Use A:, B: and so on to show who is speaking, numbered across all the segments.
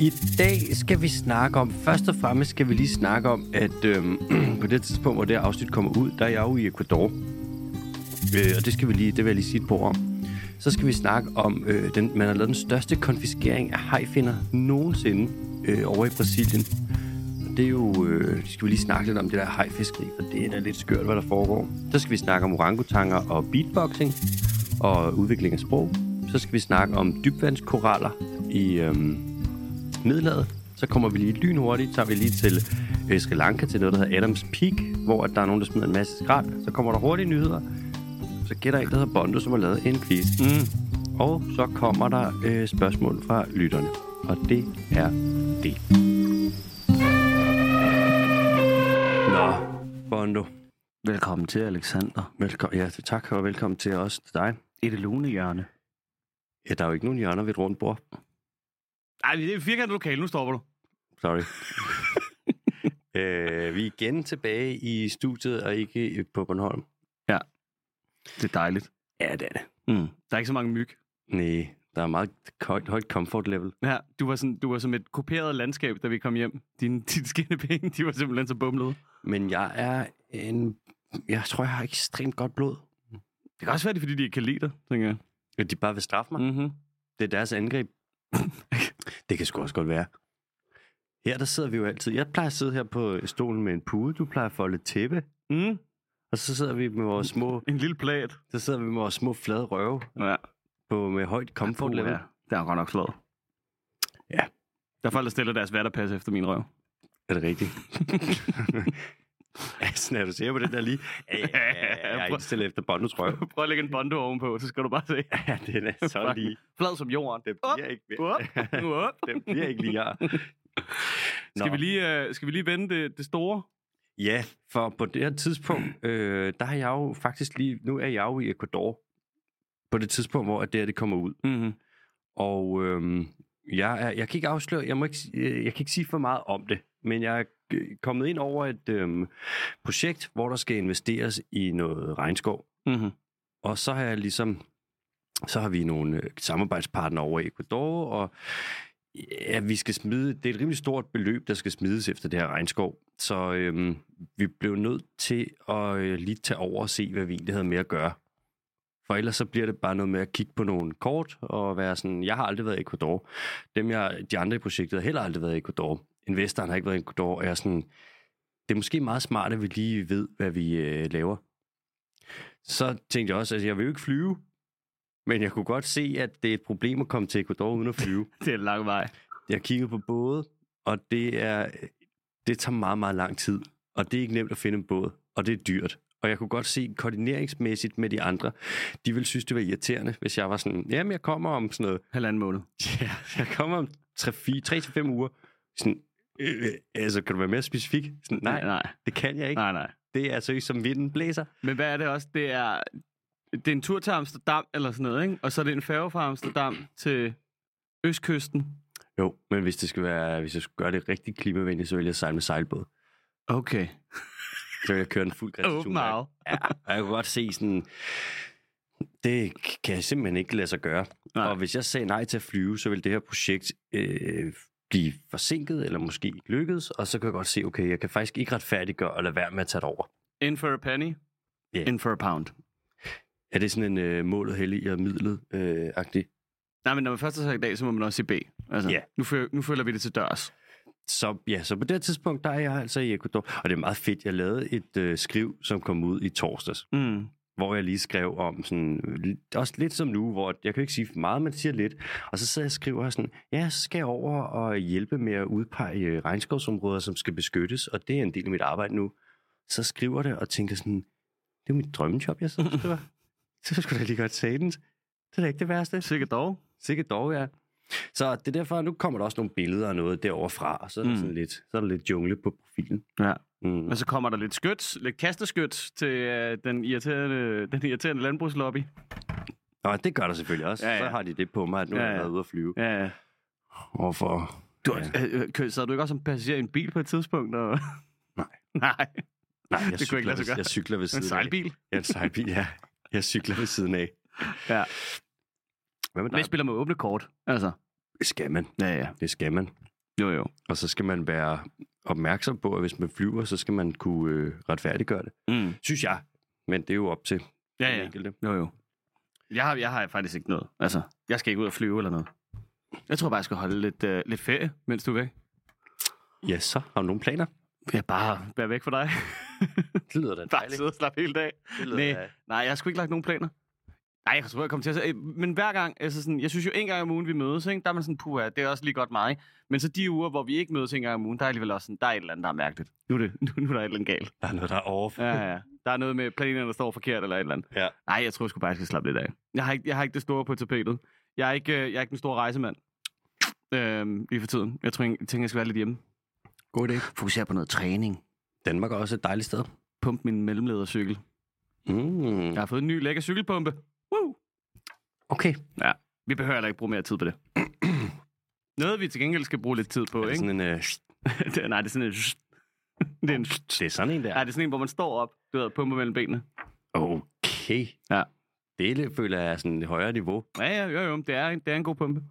A: I dag skal vi snakke om, først og fremmest skal vi lige snakke om, at øhm, på det tidspunkt, hvor det her afsnit kommer ud, der er jeg jo i Ecuador. Øh, og det, skal vi lige, det vil jeg lige sige et par ord om. Så skal vi snakke om, øh, den, man har lavet den største konfiskering af hajfinder nogensinde øh, over i Brasilien. Og det er jo, øh, det skal vi lige snakke lidt om det der hajfiskeri, for det er da lidt skørt, hvad der foregår. Så skal vi snakke om orangutanger og beatboxing og udvikling af sprog. Så skal vi snakke om dybvandskoraller i øhm, Middelhavet. Så kommer vi lige lynhurtigt, tager vi lige til øh, Sri Lanka, til noget, der hedder Adams Peak, hvor at der er nogen, der smider en masse skrald. Så kommer der hurtige nyheder. Så gætter jeg, der hedder Bondo, som har lavet en quiz. Mm. Og så kommer der øh, spørgsmål fra lytterne. Og det er det. Nå, Bondo.
B: Velkommen til, Alexander.
A: Velkommen, ja, tak og velkommen til os til dig.
B: I det lune hjørne.
A: Ja, der er jo ikke nogen hjørner ved et rundt bord.
C: Ej, det er firkantet lokale, nu stopper du.
A: Sorry. øh, vi er igen tilbage i studiet og ikke på Bornholm.
B: Det er dejligt.
A: Ja, det er det.
B: Mm.
C: Der er ikke så mange myg.
A: Nej, der er meget højt, højt comfort level.
C: Ja, du var, sådan, du var som et kopieret landskab, da vi kom hjem. Din, din skinneben, de var simpelthen så bumlede.
A: Men jeg er en... Jeg tror, jeg har ekstremt godt blod.
C: Det kan også være, det er, fordi de ikke kan lide dig, tænker jeg.
A: At De bare vil straffe mig. Mm.
C: Mm-hmm.
A: Det er deres angreb. det kan sgu også godt være. Her der sidder vi jo altid. Jeg plejer at sidde her på stolen med en pude. Du plejer at folde et tæppe.
C: Mm.
A: Og så sidder vi med vores små,
C: En lille plat.
A: så sidder vi med vores små flade røve
C: Ja.
A: på, med højt comfort level.
B: Ja, det er godt nok slået.
C: Der er folk, der stiller deres vatterpas efter min røv.
A: Er det rigtigt? altså, er du sikker på det der lige? Ja, ja, ja, Jeg er indstillet efter Bondos røv.
C: Prøv at lægge en bondo ovenpå, så skal du bare se.
A: Ja, den er så
C: Fuck.
A: lige.
C: Flad som jorden.
A: Det
C: Op,
A: bliver ikke mere.
C: op, op.
A: Det bliver ikke lige her.
C: Skal, vi lige, øh, skal vi lige vende det, det store?
A: Ja, for på det her tidspunkt, øh, der har jeg jo faktisk lige... Nu er jeg jo i Ecuador. På det tidspunkt, hvor det her det kommer ud.
C: Mm-hmm.
A: Og øh, jeg, er, jeg kan ikke afsløre... Jeg, må ikke, si- øh, jeg kan ikke sige for meget om det. Men jeg er øh, kommet ind over et øh, projekt, hvor der skal investeres i noget regnskov.
C: Mm-hmm.
A: Og så har jeg ligesom, så har vi nogle øh, samarbejdspartnere over i Ecuador, og ja, vi skal smide, det er et rimelig stort beløb, der skal smides efter det her regnskov. Så øhm, vi blev nødt til at øh, lige tage over og se, hvad vi egentlig havde med at gøre. For ellers så bliver det bare noget med at kigge på nogle kort og være sådan, jeg har aldrig været i Ecuador. Dem jeg, de andre i projektet har heller aldrig været i Ecuador. Investoren har ikke været i Ecuador, og jeg er sådan, det er måske meget smart, at vi lige ved, hvad vi øh, laver så tænkte jeg også, at jeg vil jo ikke flyve. Men jeg kunne godt se, at det er et problem at komme til Ecuador uden at flyve.
C: Det er en lang vej.
A: Jeg kiggede på både, og det er det tager meget, meget lang tid. Og det er ikke nemt at finde en båd, og det er dyrt. Og jeg kunne godt se koordineringsmæssigt med de andre, de ville synes, det var irriterende, hvis jeg var sådan, jamen jeg kommer om sådan noget,
C: Halvanden måned.
A: ja, jeg kommer om 3-5 uger. Sådan, øh, øh, altså, kan du være mere specifik? Sådan, nej,
C: nej,
A: det kan jeg ikke. Nej.
C: nej, nej.
A: Det er altså ikke som vinden blæser.
C: Men hvad er det også? Det er, det er en tur til Amsterdam eller sådan noget, ikke? Og så er det en færge fra Amsterdam til Østkysten.
A: Jo, men hvis det skal være, hvis jeg skulle gøre det rigtig klimavenligt, så vil jeg sejle med sejlbåd.
C: Okay.
A: Så vil jeg køre en fuld
C: Åben
A: gratitude.
C: arv.
A: Og jeg kunne godt se sådan, det kan jeg simpelthen ikke lade sig gøre. Nej.
C: Nej.
A: Og hvis jeg sagde nej til at flyve, så ville det her projekt øh, blive forsinket, eller måske ikke lykkes, og så kan jeg godt se, okay, jeg kan faktisk ikke retfærdiggøre at lade være med at tage det over.
C: In for a penny.
A: Ja.
C: In for a pound.
A: Er det sådan en øh, målet hellig og midlet øh, agtig?
C: Nej, men når man først har sagt A, så må man også sige B. Altså,
A: Ja.
C: nu, følger, nu følger vi det til dørs.
A: Så ja, så på det her tidspunkt, der er jeg altså i Ecuador, og det er meget fedt. Jeg lavede et øh, skriv, som kom ud i torsdags.
C: Mm.
A: hvor jeg lige skrev om sådan, øh, også lidt som nu, hvor jeg kan jo ikke sige for meget, men siger lidt, og så sidder jeg og skriver her sådan, ja, så skal jeg over og hjælpe med at udpege øh, regnskovsområder, som skal beskyttes, og det er en del af mit arbejde nu. Så skriver det og tænker sådan, det er mit drømmejob, jeg sidder og skriver. så skulle jeg lige godt sige den. Det er da ikke det værste.
C: Sikkert dog.
A: Sikkert dog, ja. Så det er derfor, nu kommer der også nogle billeder og noget derovre fra, og så er der,
C: Mm.
A: sådan lidt, så er der lidt jungle på profilen.
C: Ja.
A: Mm.
C: Men så kommer der lidt skyts, lidt kasteskyts til øh, den, irriterende, den irriterende landbrugslobby.
A: Og det gør der selvfølgelig også. Ja,
C: Ja,
A: ja.
C: ja.
A: Så har de det på mig, at nu ja,
C: Ja,
A: ja. har jeg
C: ja.
A: været ude at flyve.
C: Ja.
A: Hvorfor?
C: Du, ja. Øh, kø- sad du ikke også som passager i en bil på et tidspunkt? Og...
A: Nej.
C: Nej,
A: Nej, jeg,
C: Det kunne
A: cykler,
C: ikke lade sig
A: ved-
C: gøre.
A: jeg cykler ved
C: en
A: siden af.
C: sejlbil.
A: Ja, en sejlbil, ja. Jeg cykler ved siden af.
C: Ja.
A: Hvad med
C: Men
A: dig?
C: spiller med åbne kort. Altså.
A: Det skal man.
C: Ja, ja.
A: Det skal man.
B: Jo, jo.
A: Og så skal man være opmærksom på, at hvis man flyver, så skal man kunne øh, retfærdiggøre det.
B: Mm.
A: Synes jeg. Men det er jo op til
C: Ja,
A: den
C: ja.
A: enkelte.
B: Jo, jo.
C: Jeg har, jeg har faktisk ikke noget. Altså, jeg skal ikke ud og flyve eller noget. Jeg tror bare, jeg skal holde lidt, øh, lidt ferie, mens du er væk.
A: Ja, så har du nogle planer.
C: Jeg bare være væk fra dig.
A: Det lyder da
C: Bare sidde og slappe hele dag.
A: dejligt.
C: Næ. Nej, jeg har sgu ikke lagt nogen planer. Nej, jeg tror, jeg kommer til at sige- Men hver gang, altså sådan, jeg synes jo, en gang om ugen, vi mødes, ikke? der er man sådan, puha, det er også lige godt meget. Ikke? Men så de uger, hvor vi ikke mødes en gang om ugen, der er alligevel også sådan, der er et eller andet, der er mærkeligt. Nu er, det, nu, nu er der et eller andet galt.
A: Der er noget, der er off.
C: Ja, ja, ja. Der er noget med planerne, der står forkert eller et eller andet.
A: Ja.
C: Nej, jeg tror sgu bare, jeg skal slappe lidt af. Jeg har ikke, jeg har ikke det store på tapetet. Jeg er ikke, øh, jeg er ikke den store rejsemand. Øhm, lige for tiden. Jeg tror, jeg tænker, jeg skal være lidt hjemme.
A: God idé.
B: Fokuser på noget træning.
A: Danmark er også et dejligt sted.
C: Pumpe min mellemledercykel.
A: Mm.
C: Jeg har fået en ny lækker cykelpumpe. Woo!
A: Okay.
C: Vi behøver heller ikke bruge mere tid på det. Noget, vi til gengæld skal bruge lidt tid på,
A: Er det
C: ikke?
A: sådan en... Øh,
C: det, nej, det er sådan en... Det er en
A: det er sådan en
C: nej,
A: der.
C: det er sådan en, hvor man står op, du ved, og pumper mellem benene.
A: Okay.
C: Ja.
A: Det er lidt, føler jeg er sådan et højere niveau.
C: Ja, ja, jo, jo, det er, det er en god pumpe.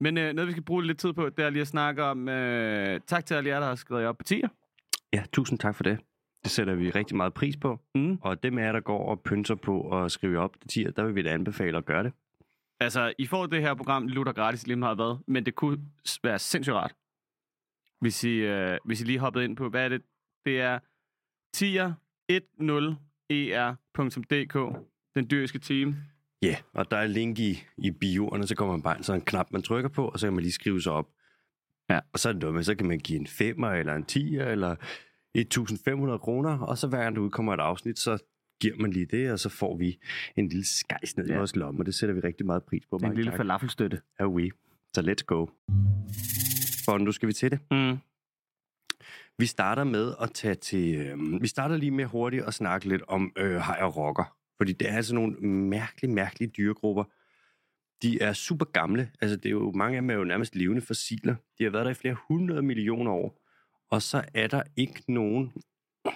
C: Men øh, noget, vi skal bruge lidt tid på, det er lige at snakke om... Øh, tak til alle jer, der har skrevet jer op på tier.
A: Ja, tusind tak for det. Det sætter vi rigtig meget pris på.
C: Mm.
A: Og dem af jer, der går og pynser på at skrive op det tier, der vil vi da anbefale at gøre det.
C: Altså, I får det her program lutter gratis lige meget hvad, men det kunne s- være sindssygt rart, hvis I, øh, hvis I lige hoppede ind på, hvad er det? Det er E tier10er.dk, den dyriske team.
A: Ja, yeah. og der er link i, i bioerne, så kommer man bare ind, så er der en knap, man trykker på, og så kan man lige skrive sig op.
C: Ja.
A: Og så er det noget med, så kan man give en 5'er, eller en 10'er, eller 1.500 kroner, og så hver gang der udkommer et afsnit, så giver man lige det, og så får vi en lille skejs ned ja. i
C: Ja.
A: vores lomme, og det sætter vi rigtig meget pris på.
C: Den
A: Mange
C: lille
A: tak.
C: falafelstøtte.
A: Er we. Så let's go. Og nu skal vi til det.
C: Mm.
A: Vi starter med at tage til... Øh, vi starter lige med hurtigt at snakke lidt om øh, hej og rokker. Fordi det er altså nogle mærkelige, mærkelige dyregrupper. De er super gamle. Altså, det er jo, mange af dem er jo nærmest levende fossiler. De har været der i flere hundrede millioner år. Og så er der ikke nogen...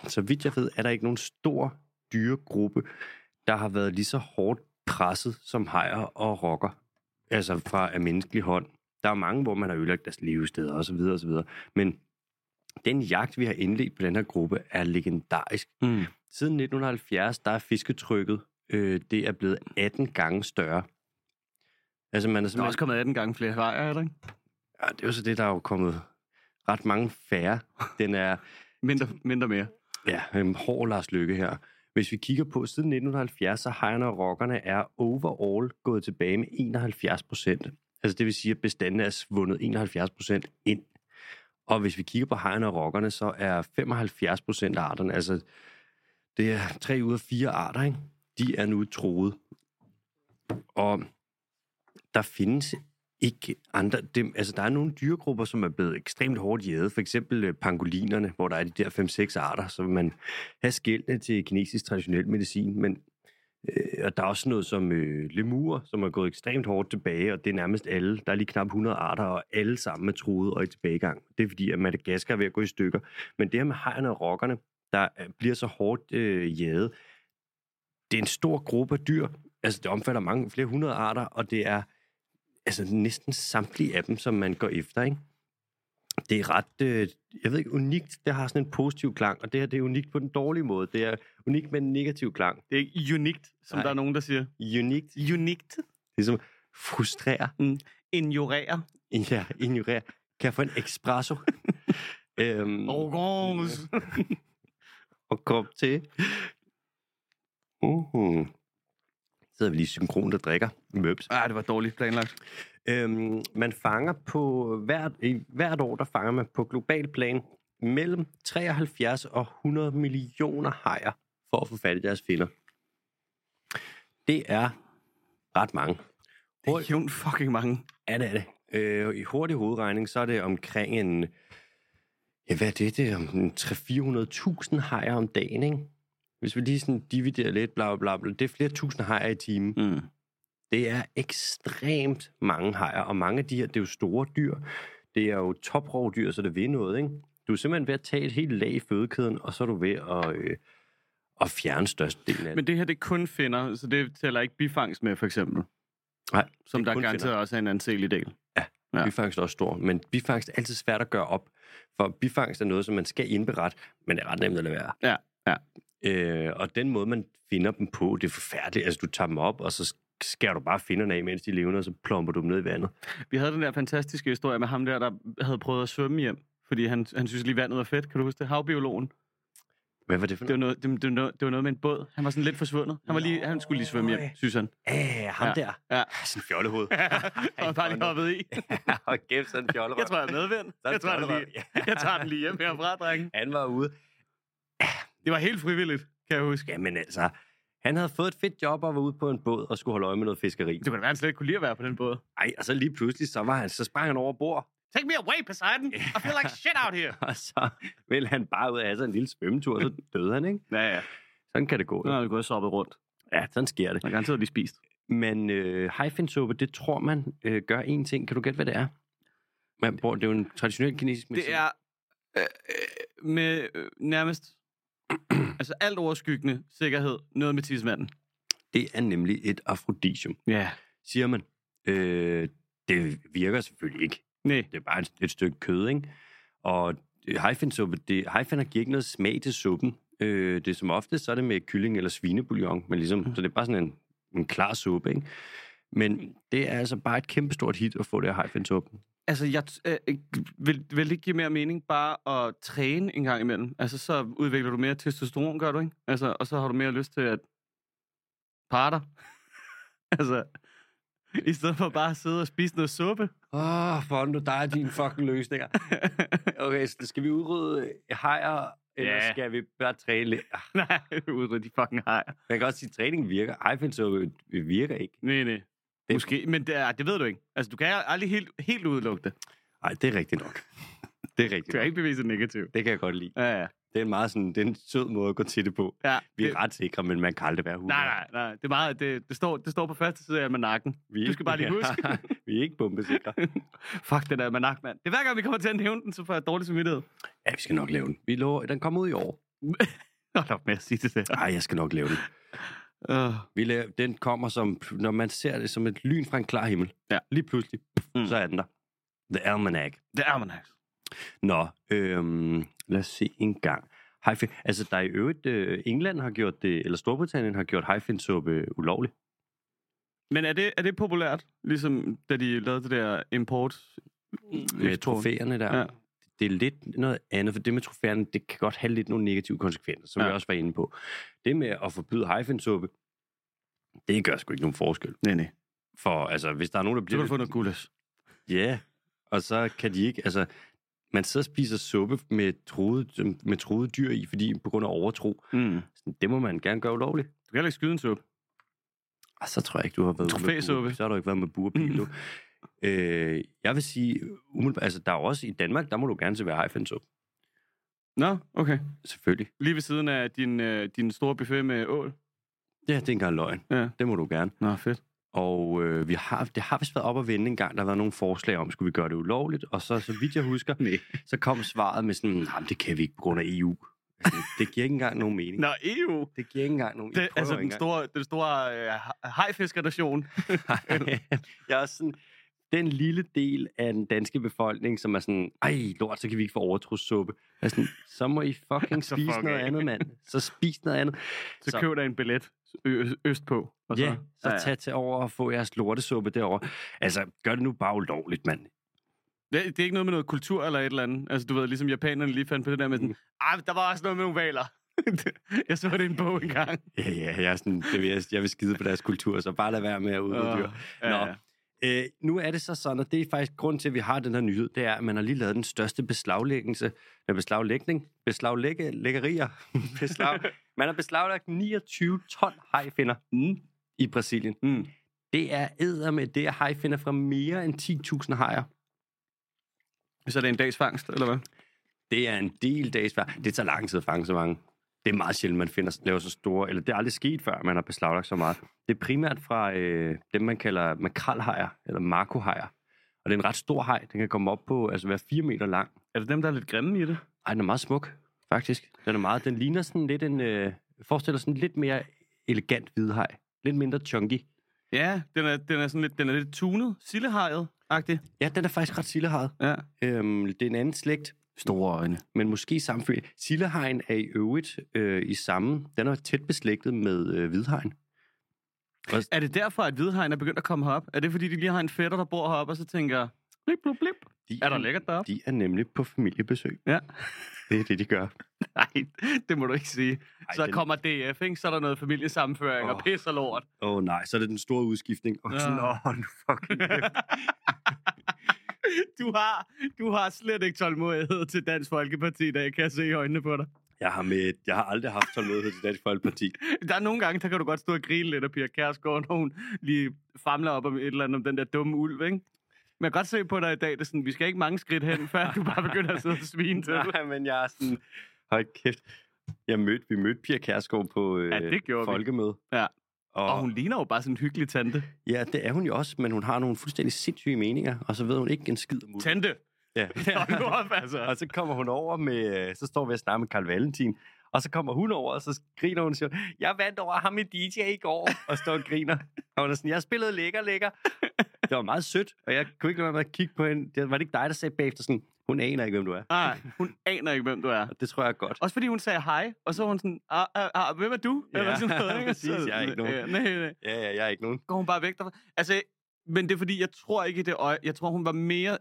A: Så vidt jeg ved, er der ikke nogen stor dyregruppe, der har været lige så hårdt presset som hejer og rokker. Altså fra af menneskelig hånd. Der er mange, hvor man har ødelagt deres levesteder osv. osv. Men den jagt, vi har indledt på den her gruppe, er legendarisk.
B: Mm.
A: Siden 1970, der er fisketrykket, øh, det er blevet 18 gange større. Altså, man er
C: Der er
A: simpelthen...
C: også kommet 18 gange flere vejer, er der ikke?
A: Ja, det er jo så det, der er jo kommet ret mange færre. Den er
C: Mindre, mindre mere.
A: ja, øhm, hård Lars Lykke her. Hvis vi kigger på, siden 1970, så hejerne og rockerne er overall gået tilbage med 71 procent. Altså det vil sige, at bestanden er svundet 71 procent ind. Og hvis vi kigger på hejerne og rockerne, så er 75 procent af arterne, altså det er tre ud af fire arter, ikke? de er nu troet. Og der findes ikke andre... Dem, altså, der er nogle dyregrupper, som er blevet ekstremt hårdt jæget. For eksempel øh, pangolinerne, hvor der er de der 5-6 arter, som man har skældende til kinesisk traditionel medicin. Men, øh, og der er også noget som øh, lemurer, som er gået ekstremt hårdt tilbage, og det er nærmest alle. Der er lige knap 100 arter, og alle sammen er truet og i tilbagegang. Det er fordi, at Madagaskar er ved at gå i stykker. Men det her med hejerne og rokkerne, der øh, bliver så hårdt øh, jæget, det er en stor gruppe af dyr. Altså, det omfatter mange, flere hundrede arter, og det er altså næsten samtlige af dem, som man går efter, ikke? Det er ret, øh, jeg ved ikke, unikt. Det har sådan en positiv klang, og det her det er unikt på den dårlige måde. Det er unikt med en negativ klang.
C: Det er ikke unikt, som
A: Nej.
C: Nej. der er nogen, der siger.
A: Unikt,
C: Unikt.
A: ligesom frustrerer,
C: Ignorerer.
A: ja, ignorerer. Kan jeg få en espresso? øhm,
C: Organs.
A: og kop te. Uh-huh. Så sidder vi lige synkron og drikker. Møbs.
C: Ah, det var dårligt planlagt.
A: Øhm, man fanger på hvert, i, hvert år, der fanger man på global plan mellem 73 og 100 millioner hajer for at få fat i deres finder. Det er ret mange.
C: Det er jævnt fucking mange.
A: Ja, det er det. Øh, I hurtig hovedregning, så er det omkring en... Ja, hvad er det? Det er om en 300-400.000 hajer om dagen, ikke? Hvis vi lige sådan dividerer lidt, bla bla bla, det er flere tusind hajer i timen.
B: Mm.
A: Det er ekstremt mange hajer, og mange af de her, det er jo store dyr. Det er jo toprovdyr, så det vil noget, ikke? Du er simpelthen ved at tage et helt lag i fødekæden, og så er du ved at, øh, at fjerne størstedelen af det.
C: Men det her, det er kun finder, så det tæller ikke bifangst med, for eksempel.
A: Nej,
C: Som
A: det er
C: der
A: kun
C: garanteret også er en anselig del.
A: Ja.
B: Ja.
A: Bifangst er også stor, men bifangst er altid svært at gøre op. For bifangst er noget, som man skal indberette, men det er ret nemt at lade være.
B: Ja, ja.
A: Øh, og den måde, man finder dem på, det er forfærdeligt. Altså, du tager dem op, og så skærer du bare finderne af, mens de er levende, og så plomper du dem ned i vandet.
C: Vi havde den der fantastiske historie med ham der, der havde prøvet at svømme hjem, fordi han, han synes lige vandet var fedt. Kan du huske det? Havbiologen.
A: Hvad var det for
C: Det var
A: noget?
C: noget, det, det, var noget, det var noget med en båd. Han var sådan lidt forsvundet. Han, var lige, han skulle lige svømme hjem, synes han.
A: Æh, Ah, ham
C: Ja,
A: der.
C: ja.
A: Sådan en fjollehoved.
C: Han var bare lige hoppet i.
A: Ja, og kæft, sådan en fjollerøv.
C: Jeg tror, jeg er medvind.
A: Sådan en
C: Jeg tager, den
A: fjollerøv.
C: lige, jeg tager den lige hjem herfra, drenge.
A: Han var ude.
C: Det var helt frivilligt, kan jeg huske.
A: Jamen altså, han havde fået et fedt job og var ude på en båd og skulle holde øje med noget fiskeri.
C: Det kunne da være, han slet ikke kunne lide at være på den båd.
A: Ej, og så lige pludselig, så, var han, så sprang han over bord,
C: Take me away, Poseidon. I feel like shit out here.
A: og så ville han bare ud af have sig en lille svømmetur, og så døde han, ikke?
C: Ja, ja.
A: Sådan kan det gå.
C: Nu
A: jo.
C: har vi gået og soppet rundt.
A: Ja, sådan sker det.
C: Jeg har garanteret lige spist.
A: Men øh, hajfinsuppe, det tror man øh, gør én ting. Kan du gætte, hvad det er? Man bruger, det er jo en traditionel kinesisk medicin.
C: Det er øh, øh, med øh, nærmest altså alt overskyggende sikkerhed noget med tidsmanden.
A: det er nemlig et afrodisium,
C: Ja.
A: siger man. Øh, det virker selvfølgelig ikke.
C: Nej.
A: det er bare et, et stykke kød, ikke? Og øh, hajfinsuppe, det, hajfinder giver ikke noget smag til suppen. Øh, det er som ofte, så er det med kylling eller svinebouillon, men ligesom, så det er bare sådan en, en klar suppe, ikke? Men det er altså bare et kæmpestort hit at få det her hajfinsuppe.
C: Altså, jeg t- øh, øh, vil, vil det ikke give mere mening bare at træne en gang imellem? Altså, så udvikler du mere testosteron, gør du ikke? Altså, og så har du mere lyst til at parter. altså, i stedet for bare at sidde og spise noget suppe.
A: Åh, oh, Fondo, der er dine fucking løsninger. Okay, så skal vi udrydde hajer, eller
C: Ja.
A: skal vi bare træne lidt? Ah,
C: Nej, udrydde de fucking hajer.
A: Man kan også sige, at træning virker. Hajfinsuppe virker ikke.
C: Nej, nej. Måske, men det, er, det ved du ikke. Altså, du kan aldrig helt, helt udelukke det.
A: Nej, det er rigtigt nok. Det er
C: Du
A: rigtigt
C: kan
A: nok.
C: ikke bevise det negativt.
A: Det kan jeg godt lide.
C: Ja, ja.
A: Det er en meget sådan, det er en sød måde at gå til det på.
C: ja
A: Vi er
C: det,
A: ret sikre, men man kan aldrig være 100.
C: nej, nej, nej. Det, er meget, det, det, står, det står på første side af almanakken.
A: Vi er
C: Du skal bare lige huske.
A: vi er ikke bombesikre.
C: Fuck, den der almanak, mand. Det er hver gang, vi kommer til at nævne den, så får jeg dårlig samvittighed.
A: Ja, vi skal nok lave den. Vi lover, den kommer ud i år.
C: Hold op med at sige det der.
A: Nej, jeg skal nok lave den.
C: Uh,
A: Vi laver, den kommer som, når man ser det som et lyn fra en klar himmel.
C: Ja.
A: Lige pludselig, mm.
C: Mm.
A: så er den der. The Almanac.
C: det er altså. almanak.
A: Nå, øhm, lad os se en gang. Hajfin. Altså, der er i øvrigt, øh, England har gjort det, eller Storbritannien har gjort hajfinsuppe ulovlig.
C: Men er det, er det populært, ligesom da de lavede det der import?
A: Med Øh, trofæerne der. Ja.
C: Ja.
A: Det er lidt noget andet, for det med trofæerne, det kan godt have lidt nogle negative konsekvenser, som ja.
C: Ja.
A: jeg også var inde på. Det med at forbyde hajfinsuppe, det gør sgu ikke nogen forskel.
C: Nej, nej.
A: For altså, hvis der er nogen, der
C: Så kan
A: bliver...
C: du få noget gulas.
A: Ja, og så kan de ikke... Altså, man sidder og spiser suppe med troede, med troede dyr i, fordi på grund af overtro.
C: Mm.
A: Sådan, Det må man gerne gøre ulovligt.
C: Du kan heller ikke skyde en suppe.
A: Og så tror jeg ikke, du har været ude med
C: Trofæsuppe.
A: bur- Så har du ikke været med burpil, du. øh, jeg vil sige, umiddelbart, altså der er jo også i Danmark, der må du gerne servere hajfinsuppe.
C: Nå, okay.
A: Selvfølgelig.
C: Lige ved siden af din, øh, din store buffet med ål.
A: Ja, det er engang løgn.
C: Ja.
A: Det må du gerne.
C: Nå, fedt.
A: Og øh, vi har, det har vist været op at vende en gang. Der har været nogle forslag om, skulle vi gøre det ulovligt? Og så, så vidt jeg husker,
C: Nej.
A: så kom svaret med sådan, nej, det kan vi ikke på grund af EU. Altså, det giver ikke engang nogen mening.
C: Nå, EU.
A: Det giver ikke engang nogen
C: Det, altså den
A: mening.
C: store, den store øh, hejfiskernation.
A: jeg er også sådan, den lille del af den danske befolkning, som er sådan, ej, lort, så kan vi ikke få overtrussuppe. Jeg er sådan, så må I fucking
C: Så
A: spise
C: fuck
A: noget
C: af.
A: andet, mand. Så spis noget andet. Så-
C: Så, så køb dig en billet ø- ø- øst på. Og
A: Ja, så
C: ja, ja.
A: tag til over og få jeres lortesuppe derovre. Altså, gør det nu bare ulovligt, mand.
C: Det, det er ikke noget med noget kultur eller et eller andet. Altså, du ved, ligesom japanerne lige fandt på det der med sådan, ah, der var også noget med nogle valer. jeg så det i en bog engang.
A: Ja, ja, jeg, er sådan, det vil, jeg, jeg vil skide på deres kultur, så bare lad være med at udrydde
C: Åh,
A: dyr.
C: ja,
A: Nå.
C: ja.
A: Øh, nu er det så sådan, og det er faktisk grund til, at vi har den her nyhed, det er, at man har lige lavet den største beslaglæggelse, eller beslaglægning, beslaglægge, lækkerier, beslag. Man har beslaglagt 29 ton hajfinder mm. i Brasilien.
C: Mm.
A: Det er æder med det er hajfinder fra mere end 10.000 hajer.
C: Så er det en dags fangst, eller hvad?
A: Det er en del dages før. Det tager lang tid at fange så mange. Det er meget sjældent, man finder, laver så store, eller det er aldrig sket før, man har beslaglagt så meget. Det er primært fra øh, dem, man kalder makralhajer, eller markohajer. Og det er en ret stor haj, den kan komme op på, altså være 4 meter lang.
C: Er det dem, der er lidt grimme i det?
A: Ej, den er meget smuk, faktisk. Den er meget, den ligner sådan lidt en, øh, forestiller sådan lidt mere elegant hvidhaj. Lidt mindre chunky.
C: Ja, den er, den er sådan lidt, den er lidt tunet. Sillehajet. agtig
A: Ja, den er faktisk ret silleharet.
C: Ja.
A: Øhm, det er en anden slægt,
B: Store øjne.
A: men måske sammenfølge. Sillehajen er i øvrigt øh, i samme. Den er tæt beslægtet med øh, hvidhajen.
C: Er det derfor, at hvidhegn er begyndt at komme herop? Er det, fordi de lige har en fætter, der bor heroppe, og så tænker... Blip, blip, blip.
A: De
C: Er der lækkert deroppe?
A: De er nemlig på familiebesøg.
C: Ja.
A: Det er det, de gør.
C: Nej, det må du ikke sige.
A: Ej,
C: så
A: den-
C: kommer DF, ikke? Så er der noget familiesammenføring oh. og
A: Åh.
C: pis og lort.
A: Åh oh, nej, så er det den store udskiftning. Oh,
C: Ja.
A: ja. nu fucking
C: du, har, du har slet ikke tålmodighed til Dansk Folkeparti i dag, kan jeg se i øjnene på dig.
A: jeg har, med, jeg har aldrig haft tålmodighed til Dansk Folkeparti.
C: Der er nogle gange, der kan du godt stå og grine lidt af Pia Kærsgaard, når hun lige famler op om et eller andet om den der dumme ulv, ikke? Men jeg kan godt se på dig i dag, det er sådan, vi skal ikke mange skridt hen, før du bare begynder at sidde og svine til. det.
A: nej, men jeg er sådan... Hold kæft. Jeg mødte, vi mødte Pia Kærsgaard på øh,
C: Ja, det gjorde vi.
A: folkemøde.
C: Ja.
A: Og,
C: Og hun ligner jo bare sådan en hyggelig tante.
A: Ja, det er hun jo også, men hun har nogle fuldstændig sindssyge meninger, og så ved hun ikke en skid om ulve.
C: Tante!
A: Ja.
C: Hold nu op, altså.
A: Og så kommer hun over med, øh, så står vi og snakker med Carl Valentin, og så kommer hun over, og så griner hun og siger, jeg vandt over ham i DJ i går, og står og griner. Og hun er sådan, jeg spillede lækker, lækker. Det var meget sødt, og jeg kunne ikke lade være med at kigge på hende. Det var det ikke dig, der sagde bagefter sådan, hun aner ikke, hvem du er.
C: Nej, hun aner ikke, hvem du er.
A: Og det tror jeg er godt.
C: Også fordi hun sagde hej, og så var hun sådan, ah, ah, ah, hvem er du?
A: Ja,
C: Eller sådan noget, ikke? Og
A: præcis,
C: så-
A: jeg er ikke nogen.
C: Ja, nej, nej.
A: Ja, ja, jeg er ikke nogen.
C: Går hun bare væk derfra. Altså, men det er fordi, jeg tror ikke i det øje, jeg tror hun var mere,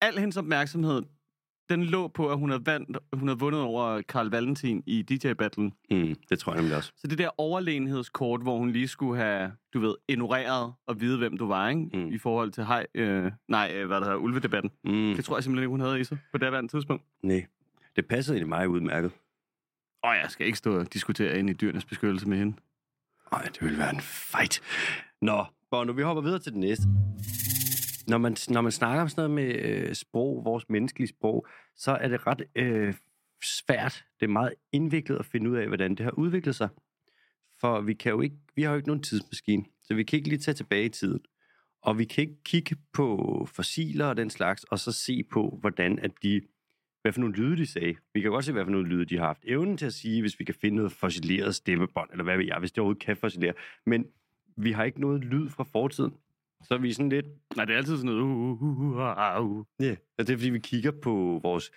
C: al hendes opmærksomhed, den lå på, at hun havde, vandt, hun havde vundet over Karl Valentin i DJ-battlen.
A: Mm, det tror jeg nemlig også.
C: Så det der overlegenhedskort, hvor hun lige skulle have, du ved, ignoreret og vide, hvem du var, ikke?
A: Mm.
C: I forhold til hej, øh, nej, øh, hvad der hedder, ulvedebatten.
A: Mm.
C: Det tror jeg simpelthen ikke, hun havde i sig på daværende tidspunkt.
A: Nej, det passede egentlig mig udmærket.
C: Og jeg skal ikke stå og diskutere ind i dyrenes beskyttelse med hende.
A: Nej, det ville være en fight. Nå, Bono, vi hopper videre til den næste. Når man, når man snakker om sådan noget med øh, sprog, vores menneskelige sprog, så er det ret øh, svært. Det er meget indviklet at finde ud af, hvordan det har udviklet sig. For vi, kan jo ikke, vi har jo ikke nogen tidsmaskine, så vi kan ikke lige tage tilbage i tiden. Og vi kan ikke kigge på fossiler og den slags, og så se på, hvordan at de, hvad for nogle lyde de sagde. Vi kan godt se, hvad for nogle lyde de har haft. Evnen til at sige, hvis vi kan finde noget fossileret stemmebånd, eller hvad ved jeg, hvis det overhovedet kan fossilere. Men vi har ikke noget lyd fra fortiden. Så er vi sådan lidt,
C: Nej, det er altid sådan noget, uh, uh, uh, uh, uh.
A: ja, og det er fordi, vi kigger på vores,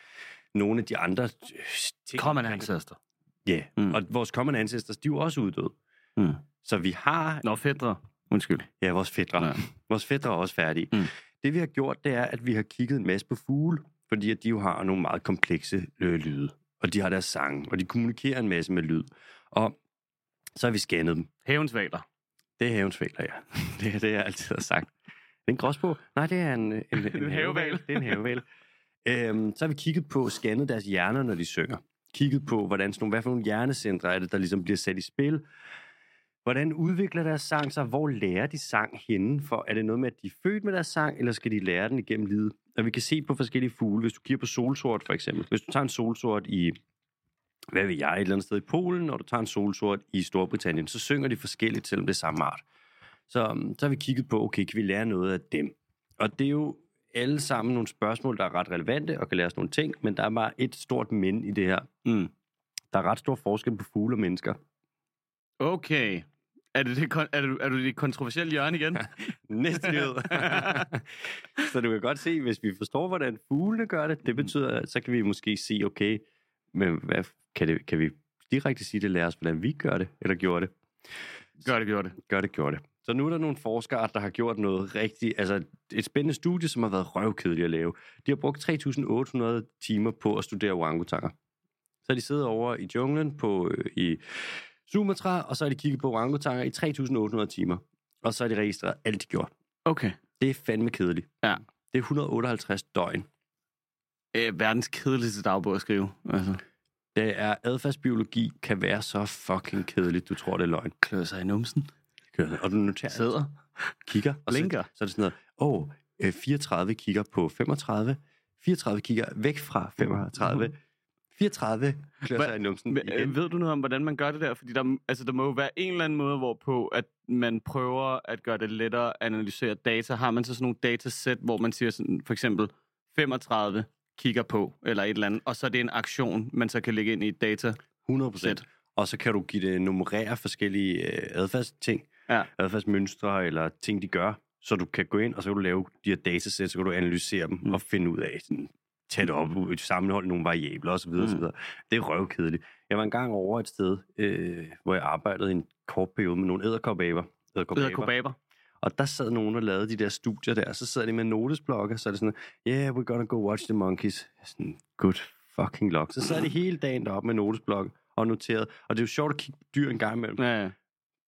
A: nogle af de andre øh, ting.
C: Common ancestor.
A: Ja,
C: Mm.
A: mm. og vores common ancestors, de er jo også uddøde.
C: Mm.
A: Så vi har
C: Nå, fædre. Undskyld.
A: Ja, vores fædre.
C: Ja.
A: Ja. Vores fædre er også færdige.
C: Mm.
A: Mm. Det vi har gjort, det er, at vi har kigget en masse på fugle, fordi at de jo har nogle meget komplekse øh, lyde, og de har deres sange, og de kommunikerer en masse med lyd. Og så har vi scannet dem.
C: Havensvaler.
A: Det er havens fædre, ja. Det er det, jeg altid har sagt. Er det en gråsbog? Nej, det er en, øh, en, en,
C: En
A: en
C: havehval.
A: haveval. Det er en haveval. øhm, så har vi kigget på, scannet deres hjerner, når de synger. Kigget på, hvordan sådan nogle, hvad for nogle hjernecentre er det, der ligesom bliver sat i spil. Hvordan udvikler deres sang sig? Hvor lærer de sang henne? For er det noget med, at de er født med deres sang, eller skal de lære den igennem livet? Og vi kan se på forskellige fugle. Hvis du kigger på solsort, for eksempel. Hvis du tager en solsort i, hvad ved jeg, et eller andet sted i Polen, og du tager en solsort i Storbritannien, så synger de forskelligt, selvom det er samme art. Så, um, så har vi kigget på, okay, kan vi lære noget af dem? Og det er jo alle sammen nogle spørgsmål, der er ret relevante og kan lære os nogle ting, men der er bare et stort men i det her.
C: Mm.
A: Der er ret stor forskel på fugle og mennesker.
C: Okay. Er, det det, kon- er, du, er du i det kontroversielle hjørne igen?
A: Næste nyhed. så du kan godt se, hvis vi forstår, hvordan fuglene gør det, det betyder, så kan vi måske se, okay, men hvad, kan, det, kan vi direkte sige, det lærer os, hvordan vi gør det, eller gjorde det?
C: gør det, gør det.
A: Gør det, gjorde det. Så nu er der nogle forskere, der har gjort noget rigtigt, altså et spændende studie, som har været røvkedeligt at lave. De har brugt 3.800 timer på at studere orangutanger. Så har de siddet over i junglen på, øh, i Sumatra, og så har de kigget på orangutanger i 3.800 timer. Og så har de registreret alt, de gjorde.
C: Okay.
A: Det er fandme kedeligt.
C: Ja.
A: Det er 158 døgn.
C: Æ, Øh, verdens kedeligste dagbog at skrive. Altså.
A: Det er adfærdsbiologi kan være så fucking kedeligt, du tror, det er løgn.
C: Klør sig i numsen.
A: Og du noterer
C: Sidder.
A: kigger. Og
C: Blinker.
A: Så, så er det sådan noget, åh, oh, 34 kigger på 35, 34 kigger væk fra 35, 34 klør
C: Mm-hmm. Hva-
A: sig i numsen
C: Men,
A: igen.
C: øh, ved du noget om, hvordan man gør det der? Fordi der, altså, der må jo være en eller anden måde, hvorpå at man prøver at gøre det lettere at analysere data. Har man så sådan nogle datasæt, hvor man siger sådan, for eksempel 35 kigger på, eller et eller andet, og så er det en aktion, man så kan lægge ind i et data.
A: 100 procent. Og så kan du give det nummerere forskellige øh, adfærdsting,
C: Ja.
A: adfærdsmønstre eller ting, de gør. Så du kan gå ind, og så kan du lave de her datasæt, så kan du analysere dem mm.
B: Mm.
A: og finde ud af, sådan, tæt op, u- sammenholde nogle variabler osv. Mm. osv.
B: Mm.
A: Det er røvkedeligt. Jeg var engang over et sted, øh, hvor jeg arbejdede i en kort periode med nogle æderkopaber.
C: Edderkobaber.
A: Og der sad nogen og lavede de der studier der, og så sad de med notesblokke, og så er det sådan, yeah, we're gonna go watch the monkeys. Jeg er Sådan, good fucking luck. Så sad de hele dagen deroppe med notesblokke og noterede. Og det er jo sjovt at kigge på dyr en gang imellem,
C: Ja, ja.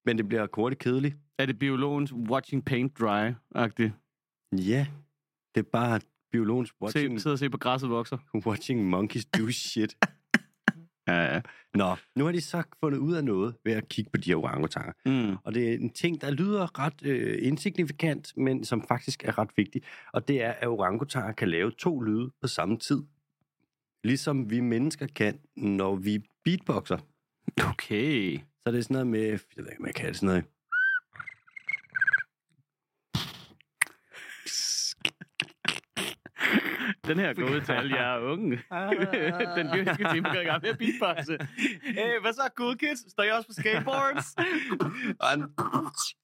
A: men det bliver kort kedeligt.
C: Er det biologens watching paint dry-agtigt?
A: Ja, det er bare biologens watching,
C: Se, sidde og se på græsset vokser.
A: watching monkeys do shit.
C: Ja, ja.
A: Nå, nu har de så fundet ud af noget ved at kigge på de her orangutanger.
C: Mm.
A: Og det er en ting, der lyder ret øh, insignifikant, men som faktisk er ret vigtig. Og det er, at orangutanger kan lave to lyde på samme tid. Ligesom vi mennesker kan, når vi beatboxer.
C: Okay.
A: Så det er sådan noget med, jeg ved ikke, man kan det sådan noget.
C: Den her går ud til alle jer unge. Den dyrske time går i gang med at beatboxe. Hey, hvad så, cool kids? Står I også på skateboards?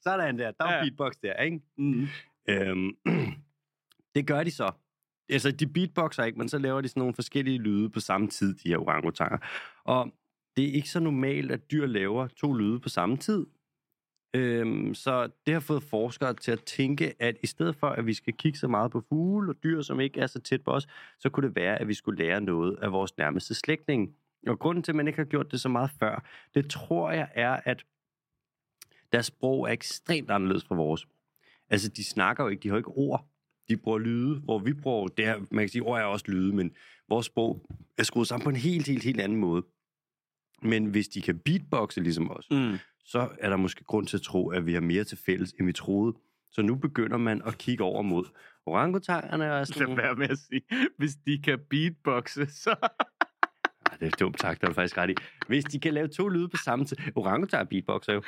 A: Sådan der, der er
C: Ja.
A: beatbox der, ikke?
C: Mm.
A: Øhm, det gør de så. Altså, de beatboxer ikke, men så laver de sådan nogle forskellige lyde på samme tid, de her orangutanger. Og det er ikke så normalt, at dyr laver to lyde på samme tid. Øhm, så det har fået forskere til at tænke, at i stedet for, at vi skal kigge så meget på fugle og dyr, som ikke er så tæt på os, så kunne det være, at vi skulle lære noget af vores nærmeste slægtning. Og grunden til, at man ikke har gjort det så meget før, det tror jeg er, at deres sprog er ekstremt anderledes fra vores. Altså, de snakker jo ikke, de har jo ikke ord. De bruger lyde, hvor vi bruger, det her, man kan sige, ord er også lyde, men vores sprog er skruet sammen på en helt, helt, helt anden måde. Men hvis de kan beatboxe ligesom os,
C: Mm.
A: så er der måske grund til at tro, at vi har mere til fælles, end vi troede. Så nu begynder man at kigge over mod orangutangerne og sådan
C: Lad være med at sige, hvis de kan beatboxe, så...
A: Ej, det er dumt tak, der er du faktisk ret i. Hvis de kan lave to lyde på samme tid. Orangutanger beatboxer jo.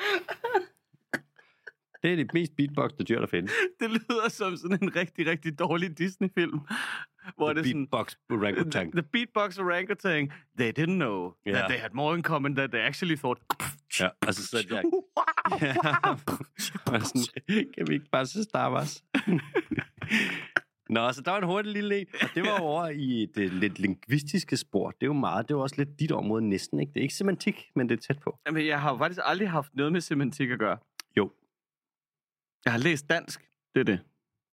A: Det er det mest beatboxede dyr, der findes.
C: Det lyder som sådan en rigtig, rigtig dårlig Disney-film. Hvor det er sådan...
A: Beatbox orangutang.
C: The, the beatbox orangutan, they didn't know yeah.
A: Ja.
C: that they had more in common than they actually thought.
A: Ja, og så sidder de der. Ja. Og sådan, kan vi ikke bare se Star Wars? Nå, så der var en hurtig lille en, og det var over i det lidt lingvistiske spor. Det er jo meget, det er jo også lidt dit område næsten, ikke? Det er ikke semantik, men det er tæt på.
C: Jamen, jeg har jo faktisk aldrig haft noget med semantik at gøre.
A: Jo.
C: Jeg har læst dansk. Det er det.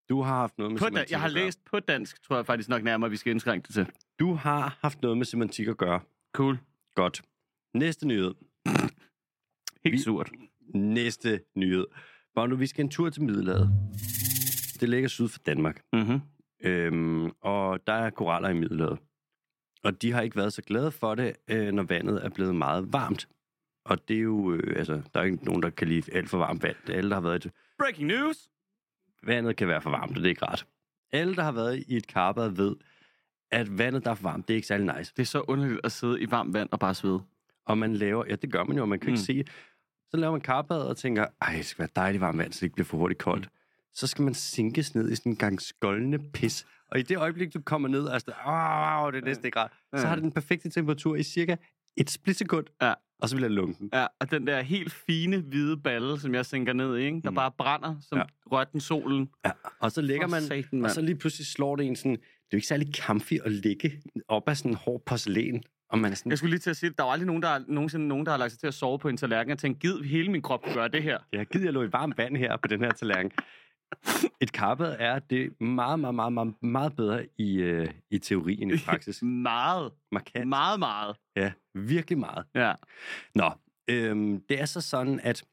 A: Du har haft noget med
C: På da-
A: semantik
C: jeg har
A: at gøre.
C: læst på dansk, tror jeg faktisk nok nærmere, vi skal indskrænke det til.
A: Du har haft noget med semantik at gøre.
C: Cool.
A: Godt. Næste nyhed.
C: Helt
A: Vi-
C: surt.
A: Næste nyhed. Bondo, vi skal en tur til Middelhavet. Det ligger syd for Danmark.
C: Mm-hmm.
A: Øhm, og der er koraller i Middelhavet. Og de har ikke været så glade for det, øh, når vandet er blevet meget varmt. Og det er jo, øh, altså, der er ikke nogen, der kan lide alt for varmt vand. Alle, der har været i et,
C: Breaking news!
A: vandet kan være for varmt, og det er ikke rart. Alle, der har været i et karbad, ved, at vandet, der er for varmt, det er ikke særlig nice.
C: Det er så underligt at sidde i varmt vand og bare svede.
A: Og man laver, ja, det gør man jo, og man kan mm. ikke
C: Mm.
A: se. Så laver man karbadet og tænker, ej, det skal være dejligt varmt vand, så det ikke bliver for hurtigt koldt.
C: Mm.
A: Så skal man sinkes ned i sådan en gang skoldende pis. Og i det øjeblik, du kommer ned, og er sådan, "Au, au, det er næsten ikke rart, så
C: Ja.
A: har det den perfekte temperatur i cirka et splitsekund,
C: Ja.
A: og så vil jeg lunge den.
C: Ja, og den der helt fine hvide balle, som jeg sænker ned i, ikke? der
A: Mm.
C: mm. bare brænder som
A: Ja.
C: ja. røtten solen.
A: Ja. Og så ligger
C: For
A: man,
C: satan,
A: og
C: mand.
A: så lige pludselig slår det en sådan, det er jo ikke særlig comfy at ligge op af sådan en hård porcelæn, og man er sådan,
C: Jeg skulle lige til at sige, at der er jo aldrig nogen, der, har- nogensinde nogen, der har lagt sig til at sove på en tallerken og tænkt, gid hele min krop kunne gøre det her.
A: Jeg gider, jeg lå i varmt vand her på den her tallerken. Et karpet er det meget, meget, meget, meget, meget bedre i, øh, i teori end i praksis.
C: Meget,
A: Markant.
C: meget, meget.
A: Ja, virkelig meget.
C: Ja.
A: Nå, øhm, det er så sådan, at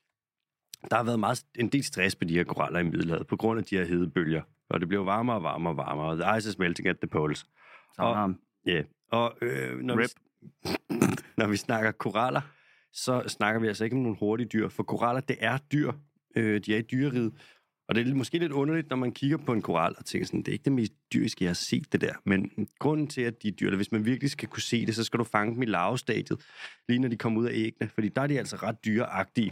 A: der har været meget, en del stress på de her koraller i Middelhavet, på grund af de her hede bølger. Og det bliver varmere og varmere og varmere, og the ice is melting at the poles. Og-
B: Og,
A: Ja, og øh, når, vi,
C: Rip.
A: når vi snakker koraller, så snakker vi altså ikke om nogle hurtige dyr, for koraller, det er dyr. Øh, de er i dyreriget. Og det er lidt- måske lidt underligt, når man kigger på en koral og tænker sådan, det er ikke det mest dyriske, jeg har set det der. Men grunden til, at de er dyr, eller hvis man virkelig skal kunne se det, så skal du fange dem i larvestadiet, lige når de kommer ud af æggene, fordi der er de altså ret dyreagtige.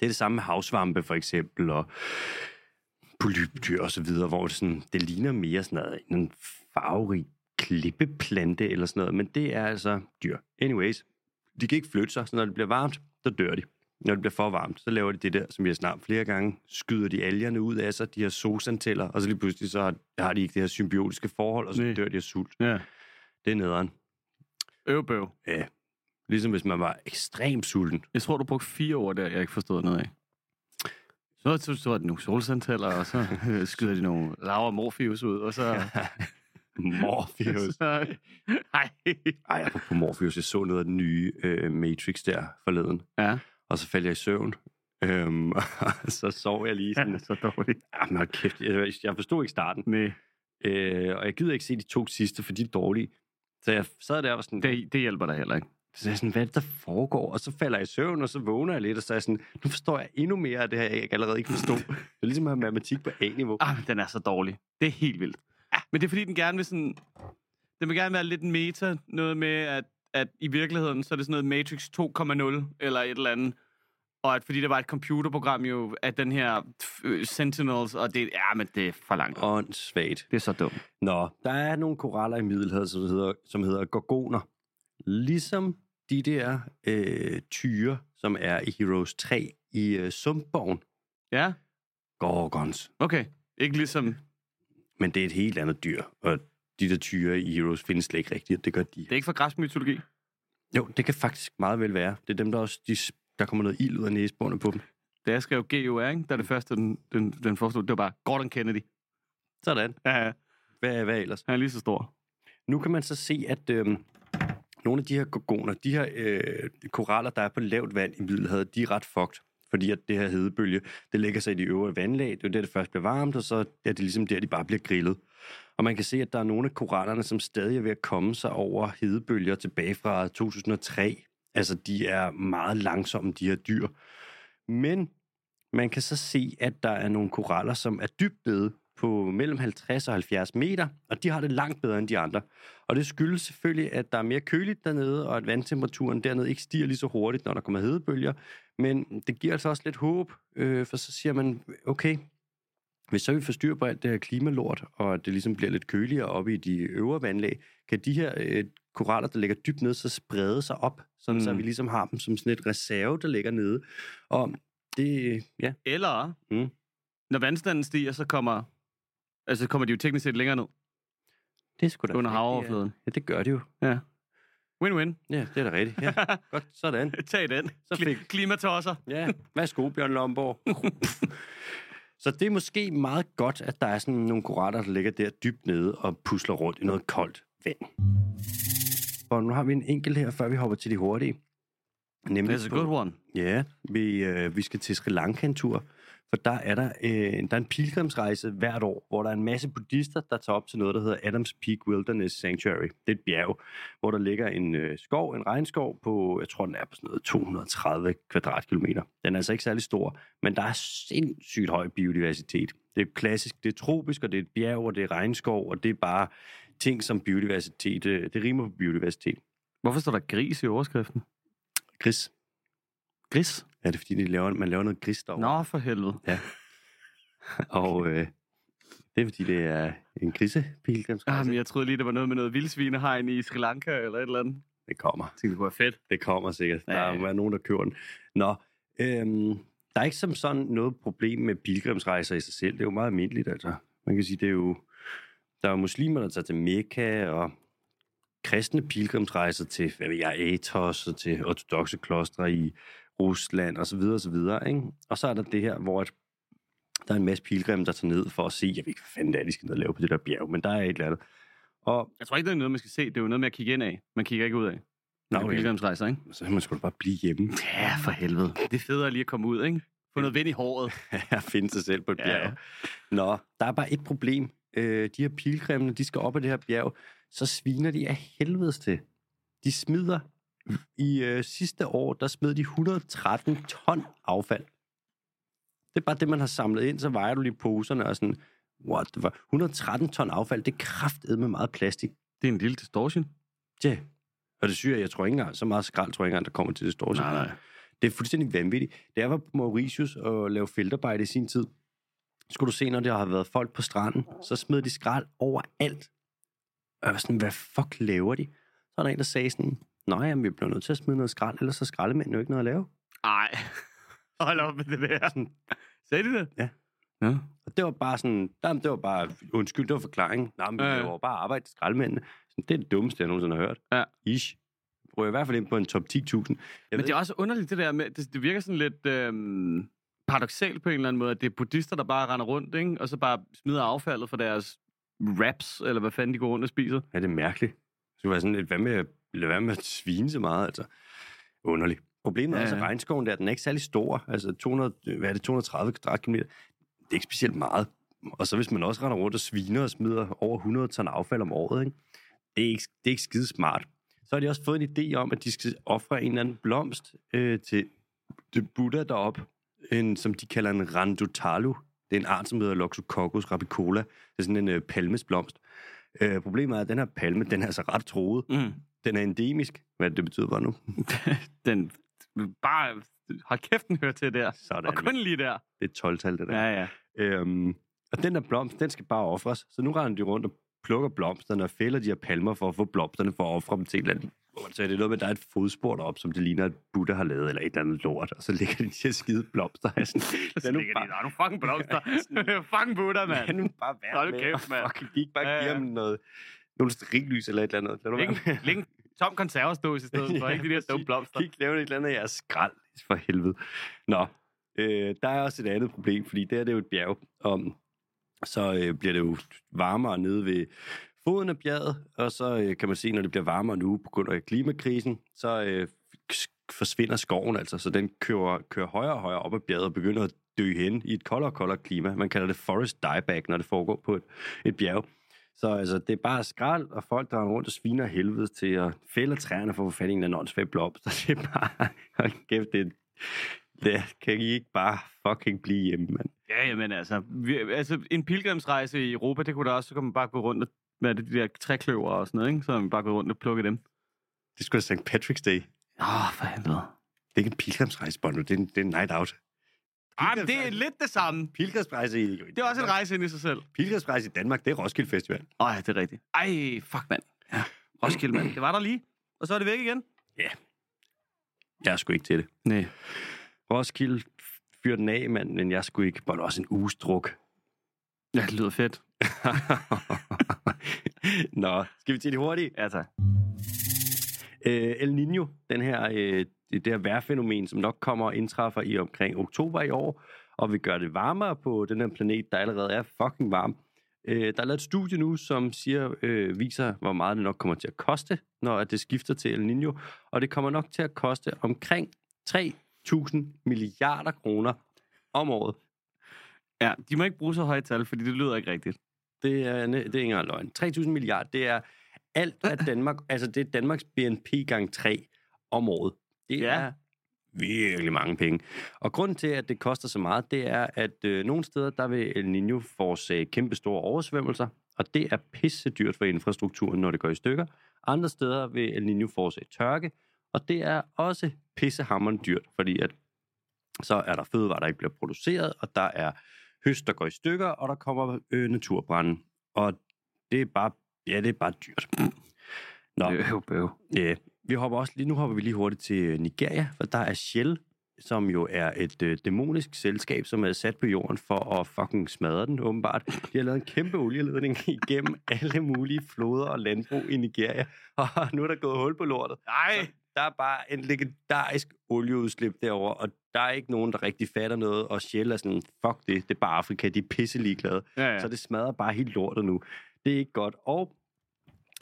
A: Det er det samme med havsvampe for eksempel, og polypdyr og så videre, hvor det, sådan, det ligner mere sådan noget, en farverig klippeplante eller sådan noget, men det er altså dyr. Anyways, de kan ikke flytte sig, så når det bliver varmt, så dør de. Når det bliver for varmt, så laver de det der, som vi har snart flere gange, skyder de algerne ud af sig, de har sosanteller, og så lige pludselig så har, har de ikke det her symbiotiske forhold, og så
B: Næ.
A: dør de af sult.
B: Ja.
A: Det er nederen.
C: Øvbøv.
A: Ja. Ligesom hvis man var ekstremt sulten.
C: Jeg tror, du brugte fire ord der, jeg ikke forstod noget af. Så, så, så er det nogle solsantaller, og så øh, skyder de nogle laver morfius ud, og så...
A: Morpheus.
C: så nej.
A: Ej, jeg på Morpheus. Jeg så noget af den nye øh, Matrix der forleden.
C: Ja.
A: Og så faldt jeg i søvn. Øhm, og så sov jeg lige sådan.
C: så dårligt.
A: Ja. Jamen, hold kæft, jeg, jeg forstod ikke starten.
C: Nej,
A: Øh, og jeg gider ikke se de to sidste, for de er dårlige. Så jeg sad der og var sådan,
C: det, det hjælper dig heller ikke.
A: så er jeg sådan, hvad er det, der foregår? Og så falder jeg i søvn, og så vågner jeg lidt, og så er jeg sådan, nu forstår jeg endnu mere af det her, jeg ikke- allerede ikke forstod. Det er ligesom at have matematik på A-niveau.
C: Ah, den er så dårlig. Det er helt vildt. Ja. Men det er fordi, den gerne vil sådan... Den vil gerne være lidt en meta. Noget med, at, at i virkeligheden, så er det sådan noget Matrix 2.0 eller et eller andet. Og at fordi det var et computerprogram jo, at den her øh, Sentinels, og det, ja, men det er for langt.
A: Åndssvagt.
C: Det er så dumt.
A: Nå, der er nogle koraller i Middelhavet, som hedder, som hedder gorgoner. Ligesom de der øh, tyre, som er i Heroes 3 i øh, Sumpborgen.
C: Ja,
A: Gorgons.
C: okay. Ikke ligesom...
A: Men det er et helt andet dyr, og de der tyre i Heroes findes slet ikke rigtigt, og det gør de.
C: Det er ikke fra græsk mytologi.
A: Jo, det kan faktisk meget vel være. Det er dem, der også... De, s- der kommer noget ild ud af næsebordene på dem.
C: Da jeg skrev GUR, ikke? der er det første, den, den, den forstod, det var bare Gordon Kennedy.
A: Sådan.
C: Ja, ja,
A: Hvad, hvad ellers?
C: han er lige så stor.
A: Nu kan man så se, at øh, nogle af de her gorgoner, de her øh, koraller, der er på lavt vand i Middelhavet, de er ret fucked. Fordi at det her hedebølge, det lægger sig i de øvre vandlag. Det er jo der, det først bliver varmt, og så er det ligesom der, de bare bliver grillet. Og man kan se, at der er nogle af korallerne, som stadig er ved at komme sig over hedebølger tilbage fra 2003. Altså, de er meget langsomme, de her dyr. Men man kan så se, at der er nogle koraller, som er dybt nede på mellem 50 og 70 meter, og de har det langt bedre end de andre. Og det skyldes selvfølgelig, at der er mere køligt dernede, og at vandtemperaturen dernede ikke stiger lige så hurtigt, når der kommer hedebølger. Men det giver altså også lidt håb, øh, for så siger man, okay, hvis så vi får styr på alt det her klimalort, og at det ligesom bliver lidt køligere oppe i de øvre vandlag, kan de her øh, koraller, der ligger dybt nede, så sprede sig op, sådan mm. så
C: Mm.
A: vi ligesom har dem som sådan et reserve, der ligger nede. Og det, ja,
C: Eller,
A: Mm.
C: mm. når vandstanden stiger, så kommer, altså, så kommer de jo teknisk set længere ned
A: det er sgu da
C: under
A: rigtigt, ja.
C: havoverfladen.
A: Ja, det gør de jo.
C: Win-win.
A: Ja, det er da rigtigt. Ja, godt, sådan.
C: Tag den.
A: Så
C: Kli-
A: fik-
C: Klimatosser.
A: Ja, værsgo, Bjørn Lomborg. Så det er måske meget godt, at der er sådan nogle koraller, der ligger der dybt nede og pusler rundt i noget koldt vand. Og nu har vi en enkelt her, før vi hopper til de hurtige. Nemlig
C: That's a good one.
A: Ja, vi, øh, vi skal til Sri Lanka en tur, for der er der, øh, der er en pilgrimsrejse hvert år, hvor der er en masse buddhister, der tager op til noget, der hedder Adams Peak Wilderness Sanctuary. Det er et bjerg, hvor der ligger en øh, skov, en regnskov på, jeg tror den er på sådan noget 230 kvadratkilometer. Den er altså ikke særlig stor, men der er sindssygt høj biodiversitet. Det er klassisk, det er tropisk, og det er et bjerg, og det er regnskov, og det er bare ting som biodiversitet. øh, Det rimer på biodiversitet.
C: Hvorfor står der gris i overskriften?
A: Gris.
C: Gris?
A: Er det fordi, de laver, man laver noget gris derovre?
C: Nå, for helvede.
A: Og øh, det er fordi, det er en krisepilgrimsrejse.
C: Jamen, jeg troede lige, det var noget med noget vildsvinehegn i Sri Lanka eller et eller andet. Jeg
A: Det kommer.
C: tænkte, det kunne være fedt.
A: Det kommer sikkert. Der
C: Ja.
A: må være nogen, der køber den. Nå, øhm, der er ikke som sådan noget problem med pilgrimsrejser i sig selv. Det er jo meget almindeligt, altså. Man kan sige, det er jo... Der er jo muslimer, der tager til Mekka, og kristne pilgrimsrejser til, hvad ved jeg, Athos og til ortodoxe klostre i Rusland osv. osv. Ikke? Og så er der det her, hvor at der er en masse pilgrim, der tager ned for at se, jeg ved ikke, hvad fanden det er, de skal ned og lave på det der bjerg, men der er et eller andet. Og
C: Jeg tror ikke, det er noget, man skal se. Det er jo noget med at kigge ind af. Man kigger ikke ud af.
A: Nå,
C: Nå,
A: okay.
C: pilgrimsrejser, ikke?
A: så kan man sgu da bare blive hjemme.
C: Ja, for helvede. Det er federe lige at komme ud, ikke? Få noget vind i håret.
A: at finde sig selv på et
C: Ja,
A: bjerg.
C: ja.
A: Nå, der er bare et problem. Øh, de her pilgrimene, de skal op ad det her bjerg, så sviner de af helvedes til. De smider, i øh, sidste år, der smed de 113 ton affald. Det er bare det, man har samlet ind, så vejer du lige poserne og sådan, what the fuck? 113 ton affald, det er kraftet med meget plastik.
C: Det er en lille distortion.
A: Ja. Yeah. Og det syger, jeg, jeg tror ikke engang, så meget skrald tror jeg ikke engang, der kommer til det store.
C: Nej, nej.
A: Det er fuldstændig vanvittigt. Da jeg var på Mauritius og lavede feltarbejde i sin tid, skulle du se, når der har været folk på stranden, så smed de skrald overalt. Og jeg var sådan, hvad fuck laver de? Så er der en, der sagde sådan, nej, jamen, vi bliver nødt til at smide noget skrald, ellers så skraldemænd jo ikke noget at lave.
C: Nej. Hold op med det der.
A: Sådan.
C: Sagde de det?
B: Ja.
A: Og det var bare sådan, jamen, det var bare, undskyld, det var forklaringen. Nej, men
C: Ja, ja.
A: det var bare arbejde til skraldmændene. Sådan, det er det dummeste, jeg nogensinde har hørt.
C: Ja.
A: Ish. Prøv i hvert fald ind på en top 10.000. Jeg
C: Men
A: ved
C: det er også underligt det der med, det, det virker sådan lidt øhm, paradoksalt på en eller anden måde, at det er buddhister, der bare render rundt, ikke? og så bare smider affaldet fra deres wraps, eller hvad fanden de går rundt og spiser.
A: Ja, det er mærkeligt. Det skulle være sådan lidt, hvad med, at- lad være med at svine så meget, altså. Underligt. Problemet ja. er
C: Ja,
A: også, at
C: ja.
A: regnskoven der, den er ikke særlig stor. Altså 200, hvad er det, 230 kvadratkilometer. Det er ikke specielt meget. Og så hvis man også render rundt og sviner og smider over 100 ton affald om året, ikke? Det, er ikke, det er ikke skide smart. Så har de også fået en idé om, at de skal ofre en eller anden blomst øh, til det Buddha derop, en, som de kalder en randotalu. Det er en art, som hedder Loxococcus rabicola. Det er sådan en øh, palmesblomst. Øh, problemet er, at den her palme, den er altså ret troet.
C: Mm.
A: Den er endemisk. Hvad det betyder bare nu?
C: Den bare, hold kæft, den hører til der.
A: Sådan.
C: Og kun lige der.
A: Det er 12-tal, det der. Ja.
C: Ja, ja.
A: Øhm, og den der blomst, den skal bare ofres. Så nu render de rundt og plukker blomsterne og fælder de her palmer for at få blomsterne for at ofre dem til et eller andet. hvor man siger, det er noget med, at der er et fodspor deroppe, som det ligner, at Buddha har lavet, eller et eller andet lort, og så ligger de de her skide blomster. Jeg er sådan,
C: Så
A: lad nu
C: ligger de,
A: bare,
C: der er nu fucking blomster. fucking Buddha,
A: lad
C: mand.
A: nu bare være
C: Hold
A: med,
C: kæft, mand.
A: og fucking gik bare
C: Ja,
A: ja,
C: ja.
A: ja. dem noget, nogle ringlys eller et eller andet. Lad nu være
C: Læg,
A: med.
C: en- læg en tom konservesdås i stedet for,
A: Ja,
C: ikke de der dumme
A: præcis.
C: blomster.
A: kan ikke lave et eller andet af jeres skrald, for helvede. Nå, øh, der er også et andet problem, fordi der er det jo et bjerg, og så øh, bliver det jo varmere nede ved foden af bjerget, og så øh, kan man se, når det bliver varmere nu på grund af klimakrisen, så øh, sk- forsvinder skoven altså, så den kører, kører højere og højere op ad bjerget og begynder at dø hen i et koldere og koldere klima. Man kalder det forest dieback, når det foregår på et, et bjerg. Så altså, det er bare skrald, og folk, der render rundt og sviner af helvede til at fælde træerne for at få fat i en eller anden åndssvag blomst. Så det er bare, hold kæft, det, det kan I ikke bare fucking blive hjemme, mand.
C: Ja, jamen altså, vi, altså, en pilgrimsrejse i Europa, det kunne da også, så kunne man bare gå rundt og, hvad er det, de der trækløver og sådan noget, ikke? Så man bare gå rundt og plukke dem.
A: Det skulle sgu da St. Patrick's Day.
C: Åh, oh, for helvede.
A: Det er ikke en pilgrimsrejse, Bondo. Det er en, det er en night out.
C: Ej, Ah, men det er lidt det samme.
A: Pilgrimsrejse i...
C: Det er også en rejse ind i sig selv.
A: Pilgrimsrejse i Danmark, det er Roskilde Festival.
C: Ej, det er rigtigt. Ej, fuck, mand. Ja. Roskilde, mand. Det var der lige. Og så er det væk igen.
A: Jeg er sgu ikke til det.
C: Nej.
A: Roskilde fyrer den af, mand, men jeg er sgu ikke. Bondo, også en uges druk.
C: Ja, det lyder fedt.
A: Nå, skal vi til det hurtige?
C: Ja, tak.
A: Øh, El Niño, den her, øh, det der vejrfænomen, som nok kommer og indtræffer i omkring oktober i år, og vi gør det varmere på den her planet, der allerede er fucking varm. Øh, der er lavet et studie nu, som siger, øh, viser, hvor meget det nok kommer til at koste, når at det skifter til El Niño, og det kommer nok til at koste omkring 3.000 milliarder kroner om året.
C: Ja, de må ikke bruge så høje tal, fordi det lyder ikke rigtigt.
A: Det er, det er ikke engang løgn. 3.000 milliarder, det er alt af Danmark, altså det er Danmarks BNP gang 3 om året. Det
C: Ja.
A: ja. er virkelig mange penge. Og grunden til, at det koster så meget, det er, at øh, nogle steder, der vil El Niño forårsage kæmpe store oversvømmelser, og det er pisse dyrt for infrastrukturen, når det går i stykker. Andre steder vil El Niño forårsage tørke, og det er også pissehammerende dyrt, fordi at så er der fødevarer, der ikke bliver produceret, og der er høst, der går i stykker, og der kommer øh, naturbrænde. Og det er bare, ja, det er bare dyrt. Nå,
B: Bøv, bøv.
A: øh, vi hopper også lige, nu hopper vi lige hurtigt til øh, Nigeria, for der er Shell, som jo er et øh, dæmonisk selskab, som er sat på jorden for at fucking smadre den, åbenbart. De har lavet en kæmpe olieledning igennem alle mulige floder og landbrug i Nigeria, og nu er der gået hul på lortet.
C: Nej.
A: Der er bare en legendarisk olieudslip derover, og der er ikke nogen, der rigtig fatter noget, og Shell er sådan, fuck det, det er bare Afrika, de er pisse ligeglade.
C: Ja, ja.
A: Så det smadrer bare helt lortet nu. Det er ikke godt. Og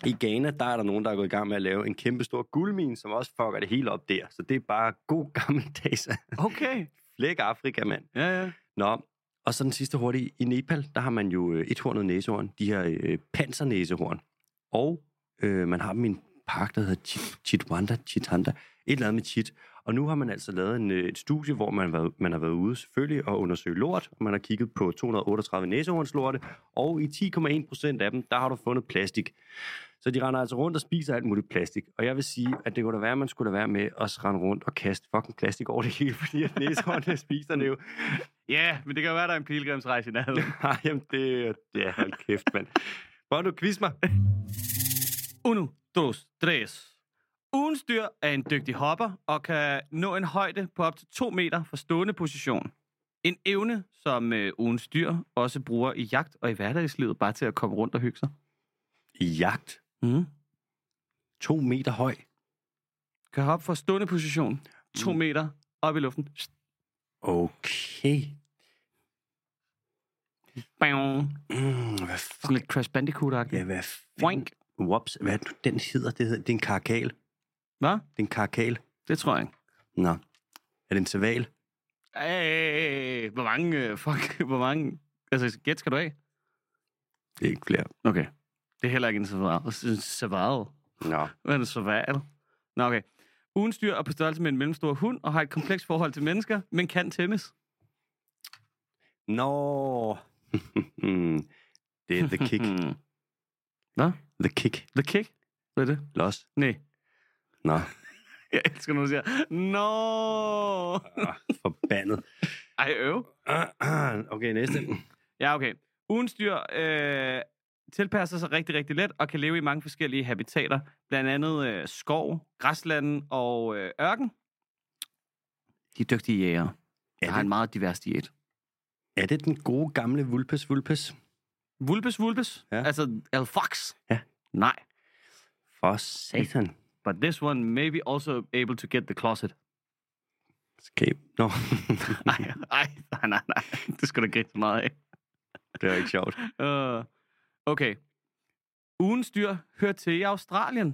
A: i Ghana, der er der nogen, der er gået i gang med at lave en kæmpe stor guldmine, som også fucker det helt op der. Så det er bare god gammeldags
C: Okay.
A: flæk Afrika, mand.
C: Ja, ja.
A: Nå, og så den sidste hurtige. I Nepal, der har man jo øh, ethornet næsehorn, de her øh, pansernæsehorn. Og øh, man har dem i en park, der hedder Chit- Chitwanda, Chitanda, et eller andet med chit. Og nu har man altså lavet en, øh, et studie, hvor man, har været- man har været ude selvfølgelig og undersøge lort, og man har kigget på 238 næsehornslorte, og i 10,1 procent af dem, der har du fundet plastik. Så de render altså rundt og spiser alt muligt plastik. Og jeg vil sige, at det kunne da være, at man skulle da være med at rende rundt og kaste fucking plastik over det hele, fordi at næsehornene spiser det jo.
C: Ja, men det kan jo være, der er en pilgrimsrejse i nærheden.
A: Ej, jamen det... Ja, hold kæft, mand. Hvor du quiz mig?
C: Uno, dos, tres. Ugens dyr er en dygtig hopper og kan nå en højde på op til 2 meter fra stående position. En evne, som øh, ugens dyr også bruger i jagt og i hverdagslivet, bare til at komme rundt og hygge sig.
A: I jagt.
C: Mm.
A: To meter høj.
C: Kan hoppe fra stående position 2
B: Mm.
C: meter op i luften.
A: Okay.
C: Bang.
A: Mm, hvad
C: Sådan
A: fuck?
C: lidt Crash bandicoot
A: Ja, hvad fanden?
C: Boink.
A: Whoops. Hvad er det nu, den hedder? Det, hedder? det er en karakal.
C: Hvad?
A: Det er en karakal.
C: Det tror jeg ikke.
A: Nå. Er det en saval?
C: Ej, hvor mange, øh, fuck, hvor mange, altså gæt skal du af?
A: Det er ikke flere.
C: Okay. Det er heller ikke en saval. Saval.
A: Nå.
C: Hvad er det saval? Nå, okay. Ugens dyr er på størrelse med en mellemstor hund og har et komplekst forhold til mennesker, men kan tæmmes.
A: Nå. det er The Kick.
C: Hmm.
A: The Kick.
C: The kick? Hvad er det?
A: Lost.
C: Nej.
A: Nå.
C: Jeg elsker, når du siger, no.
A: Ah, Forbandet.
C: Ej, øv.
A: Okay, næste.
C: Ja, okay. Ugens dyr øh, tilpasser sig rigtig, rigtig let og kan leve i mange forskellige habitater. Blandt andet øh, skov, græslande og øh, ørken. De er dygtige jæger.
A: Er det,
C: meget divers diæt.
A: er det den gode gamle Vulpes Vulpes?
C: Vulpes, vulpes.
A: Ja.
C: Ja. Altså, El Fox.
A: Ja.
C: Nej.
A: For satan.
C: But this one may be also able to get the closet.
A: Skab. Nå,
C: Nej, nej, nej, nej, nej. Det skal du ikke så meget af.
A: det var ikke sjovt.
C: Uh, okay. Ugens dyr hører til i Australien.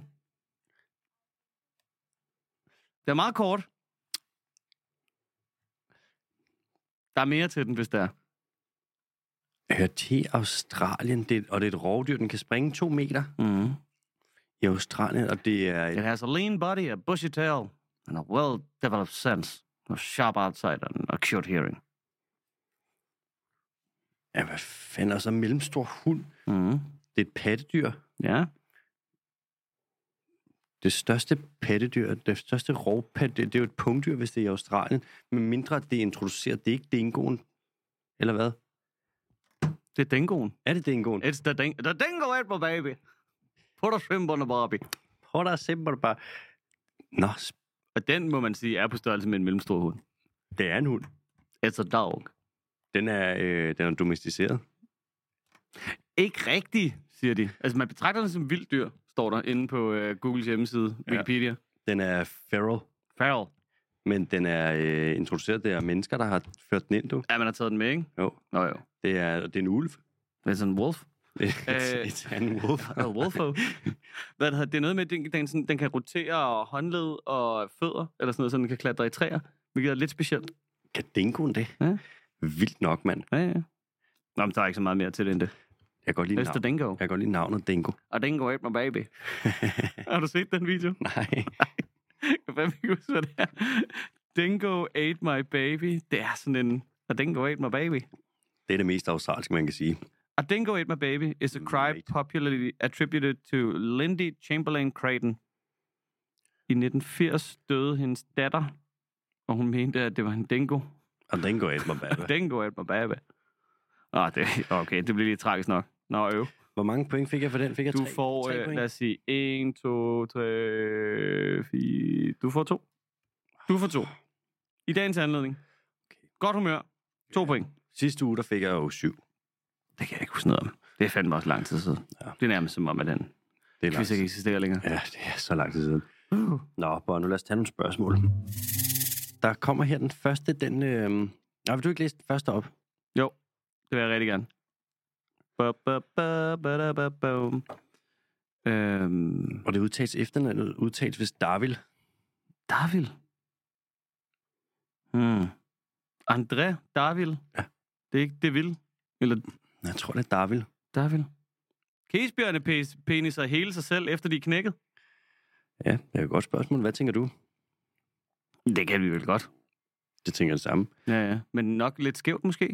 C: Det er meget kort. Der er mere til den, hvis der er.
A: Hører til Australien, det, er- og det er et rovdyr, den kan springe to meter
C: Mm.
A: i Australien, og det er...
C: It has a lean body, a bushy tail, and a well-developed sense of sharp outside and acute hearing.
A: Ja, hvad fanden, og så en mellemstor hund.
C: Mm.
A: Det er et pattedyr.
C: Ja.
A: Det største pattedyr, det største rovpattedyr, det er jo et pungdyr, hvis det er i Australien. Men mindre det er introduceret, det er ikke dingoen. Eller hvad?
C: Det er dingoen.
A: Er det dingoen?
C: It's the, ding- the dingo apple, baby. Put a shrimp on the barbie.
A: Hold da simpelthen bare... Nå, sp-
C: Og den, må man sige, er på størrelse med en mellemstor hund.
A: det er en hund.
C: It's a dog.
A: Den er, øh, den er domesticeret.
C: Ikke rigtigt, siger de. Altså, man betragter det som vildt dyr, står der inde på øh, Googles hjemmeside,
A: Ja.
C: Wikipedia.
A: Den er feral.
C: Feral.
A: Men den er øh, introduceret, det er mennesker, der har ført den ind, du.
C: Ja, man har taget den med, ikke?
A: Jo,
C: Nå jo.
A: det er, det er en ulv.
C: It's a wolf.
A: Det er
C: Øh.
A: et, en wolf.
C: A wolfo. Hvad det hedder, det er noget med, at den, den, sådan, den kan rotere og håndled og fødder, eller sådan noget, så den kan klatre i træer, hvilket er lidt specielt.
A: Kan dingoen det?
C: Ja.
A: Vildt nok, mand.
C: Ja, ja. Nå, men der er ikke så meget mere til det end det.
A: Jeg kan godt lide,
C: It's the
A: navn.
C: dingo.
A: jeg kan godt lide navnet Dingo.
C: Og dingo ate my baby. har du set den video?
A: Nej.
C: Jeg kan fandme ikke huske, hvad det er. Dingo ate my baby. Det er sådan en... A dingo ate my baby.
A: Det er det mest australske, man kan sige.
C: A dingo ate my baby is a cry
A: Mate.
C: popularly attributed to Lindy Chamberlain Creighton. I 1980 døde hendes datter, og hun mente, at det var en dingo.
A: Og Dingo er mig
C: A dingo ate my baby. Ah, det, okay, det bliver lige tragisk nok. Nå, øv.
A: Hvor mange point fik jeg for den? Fik jeg
C: Du
A: tre,
C: får,
A: tre
C: øh,
A: point?
C: lad os sige, 1, 2, 3, 4... Du får to. Du får to. I dagens anledning. Godt humør. To
A: Ja.
C: point.
A: Sidste uge, der fik jeg jo syv.
C: Det kan jeg ikke huske noget om. Det er fandme også lang tid siden.
A: Ja.
C: Det er nærmest som om, at den
A: Det er lang
C: quiz ikke
A: tid.
C: eksisterer længere.
A: Ja, det er så lang tid siden.
C: Uh.
A: Nå, bare nu lad os tage nogle spørgsmål. Der kommer her den første, den... Øh... Nej, vil du ikke læse den første op?
C: Det vil jeg rigtig gerne. Ba, ba, ba, ba, da, ba, bum. Øhm,
A: Og det udtales efternavnet, udtales hvis Darvil.
C: Darvil. Hmm. André Darvil.
A: Ja.
C: Det er ikke Devil. Eller
A: Jeg tror, det er Darvil.
C: Darvil. Kæsbjørne pes- peniser hele sig selv, efter de er knækket.
A: Ja, det er et godt spørgsmål. Hvad tænker du?
C: Det kan vi vel godt.
A: Det tænker jeg det samme.
C: Ja, ja. Men nok lidt skævt måske.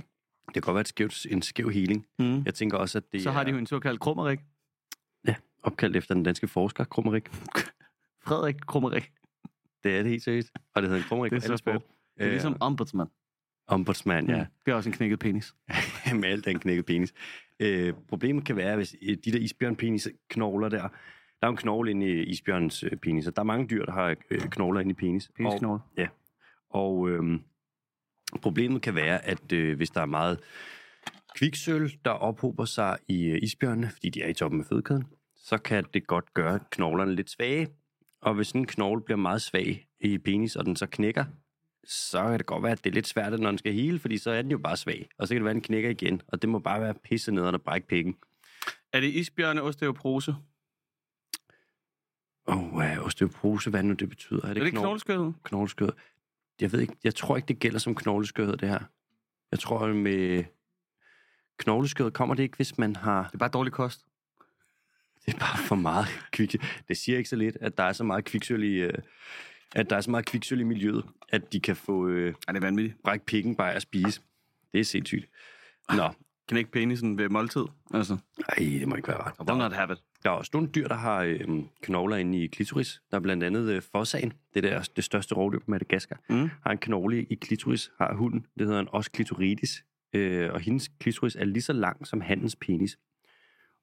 A: Det kan godt være et skævt, en skæv healing.
C: Mm.
A: Jeg tænker også, at det
C: Så har
A: er
C: de jo en såkaldt krummerik.
A: opkaldt efter den danske forsker, Krummerik.
C: Frederik Krummerik.
A: Det er det helt seriøst. Og det hedder en Krummerik
C: Det er
A: på
C: så
A: alle sprog.
C: fedt. Det er ligesom ombudsmand.
A: Øh, ombudsmand, ja.
C: Ja. Det er også en knækket penis. Mm.
A: med alt den knækkede penis. Øh, problemet kan være, hvis øh, de der isbjørnpenisknogler der, Der er jo en knogle inde i isbjørnens øh, penis, og der er mange dyr, der har øh, knogler inde i penis. Og,
B: Penisknogle.
A: og øh, problemet kan være, at øh, hvis der er meget kviksøl, der ophober sig i øh, isbjørnene, fordi de er i toppen af fødekæden, så kan det godt gøre knoglerne lidt svage. Og hvis en knogle bliver meget svag i penis, og den så knækker, så kan det godt være, at det er lidt svært, når den skal hele, fordi så er den jo bare svag. Og så kan det være, at den knækker igen, og det må bare være pisse nederen og brække pikken.
C: Er det isbjørne osteoporose? Er
A: Åh, oh, uh, osteoporose, hvad nu det betyder? Er
C: det,
A: det,
C: ikke knogleskørhed?
A: knogleskørhed? Jeg ved ikke, jeg tror ikke, det gælder som knogleskørhed, det her. Jeg tror, at med knogleskørhed kommer det ikke, hvis man har...
C: Det er bare dårlig kost.
A: Det er bare for meget kviksøl. Det siger ikke så lidt, at der er så meget kviksøl i... øh, At der er så meget kviksøl i miljøet, at de kan få øh,
C: Ja, det er vanvittigt.
A: brække pikken bare af at spise. Det er sindssygt. Nå,
C: Kan ikke penisen ved måltid? Altså,
A: ej, det må ikke være ret.
C: don't not have it.
A: Der er også nogle dyr, der har øh, knogler inde i klitoris. Der er blandt andet øh, fossaen, det der det største rovdyr på Madagaskar,
C: Mm.
A: har en knogle i klitoris, har hunden. Det hedder en os klitoritis. Øh, og hendes klitoris er lige så lang som handens penis.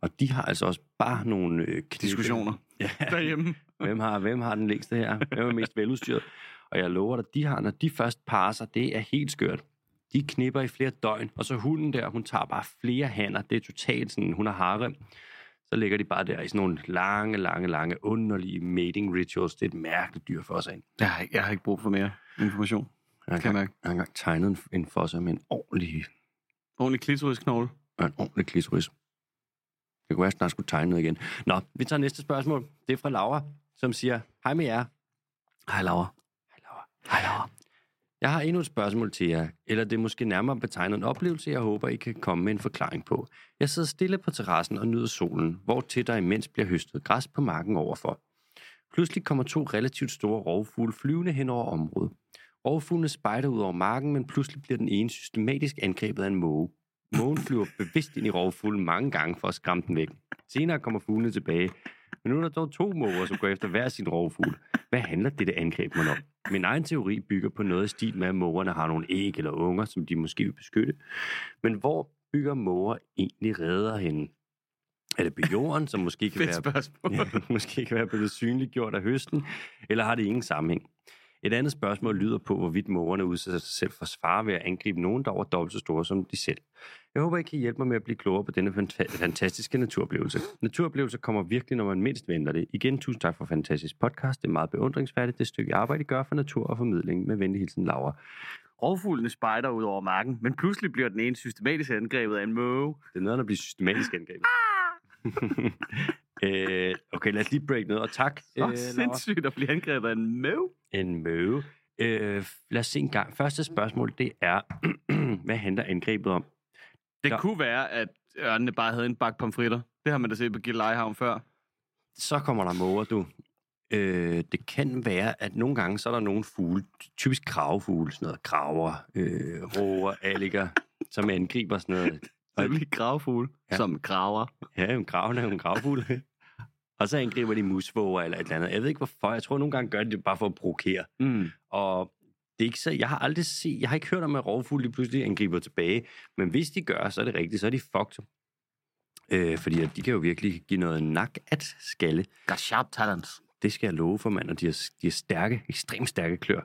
A: Og de har altså også bare nogle... Øh, knippe-
C: Diskussioner
A: Ja,
C: derhjemme.
A: hvem, har, hvem har den længste her? Hvem er mest veludstyret? Og jeg lover dig, de har, når de først parer sig, det er helt skørt. De knipper i flere døgn, og så hunden der, hun tager bare flere hanner. Det er totalt sådan, hun har harem. Så ligger de bare der i sådan nogle lange, lange, lange, underlige mating rituals. Det er et mærkeligt dyr for sig.
C: Jeg har, ikke- jeg har ikke brug for mere information.
A: Jeg
C: Kan jeg
A: har
C: mærke.
A: jeg har engang tegnet en, en fosser med en ordentlig,
C: Ordentlig klitorisknogle.
A: og en ordentlig klitoris. Det kunne være, at jeg snart skulle tegne noget igen. Nå, vi tager næste spørgsmål. Det er fra Laura, som siger, hej med jer.
B: Hej, Laura.
A: Hej Laura. Hej Laura. Jeg har endnu et spørgsmål til jer, eller det er måske nærmere betegnet en oplevelse, jeg håber, I kan komme med en forklaring på. Jeg sidder stille på terrassen og nyder solen, hvor til der imens bliver høstet græs på marken overfor. Pludselig kommer to relativt store rovfugle flyvende hen over området. Rovfuglene spejder ud over marken, men pludselig bliver den ene systematisk angrebet af en måge. Mågen flyver bevidst ind i rovfuglen mange gange for at skræmme den væk. Senere kommer fuglene tilbage, men nu er der dog to måger, som går efter hver sin rovfugl. Hvad handler dette angreb mon om? Min egen teori bygger på noget i stil med, at mågerne har nogle æg eller unger, som de måske vil beskytte. Men hvor bygger måger egentlig redder henne? Er det på jorden, som måske kan
C: Fedt
A: være
C: spørgsmål.
A: ja, måske kan være blevet synliggjort af høsten, eller har det ingen sammenhæng? Et andet spørgsmål lyder på, hvorvidt mågerne udsætter sig selv for svare ved at angribe nogen, der er over dobbelt så store som de selv. Jeg håber, I kan hjælpe mig med at blive klogere på denne fanta- fantastiske naturoplevelse. Naturoplevelser kommer virkelig, når man mindst venter det. Igen, tusind tak for fantastisk podcast. Det er meget beundringsværdigt, det stykke arbejde, I gør for natur og formidling. Med venlig hilsen, Laura.
C: Rovfuglene spejder ud over marken, men pludselig bliver den ene systematisk angrebet af en måge.
A: Det er noget, der bliver systematisk angrebet. øh, okay, lad os lige break ned, og tak,
C: Åh,
A: øh,
C: oh, sindssygt at blive angrebet af en måge.
A: en møve. Øh, lad os se en gang. Første spørgsmål, det er, hvad handler angrebet om?
C: Det
A: Ja.
C: kunne være, at ørnene bare havde en bakke pomfritter. Det har man da set på Gillelejehavn før.
A: Så kommer der måger, du. Øh, det kan være, at nogle gange, så er der nogle fugle, typisk kravefugle, sådan noget, kraver, øh, roer, alliger, som angriber sådan noget. Og-
C: Det bliver gravfugle,
A: Ja.
C: ja. som graver.
A: Ja, en kraven er jo en gravfugl. Og så angriber de musvåger eller et eller andet. Jeg ved ikke hvorfor. Jeg tror, nogle gange gør de det bare for at provokere.
B: Mm.
A: Og det er ikke så, jeg har aldrig set, jeg har ikke hørt om, at rovfugle lige pludselig angriber tilbage. Men hvis de gør, så er det rigtigt, så er de fucked. Øh, fordi at de kan jo virkelig give noget nak at skalle.
C: Got sharp talents.
A: Det skal jeg love for, mand, og de har, de har stærke, ekstremt stærke klør.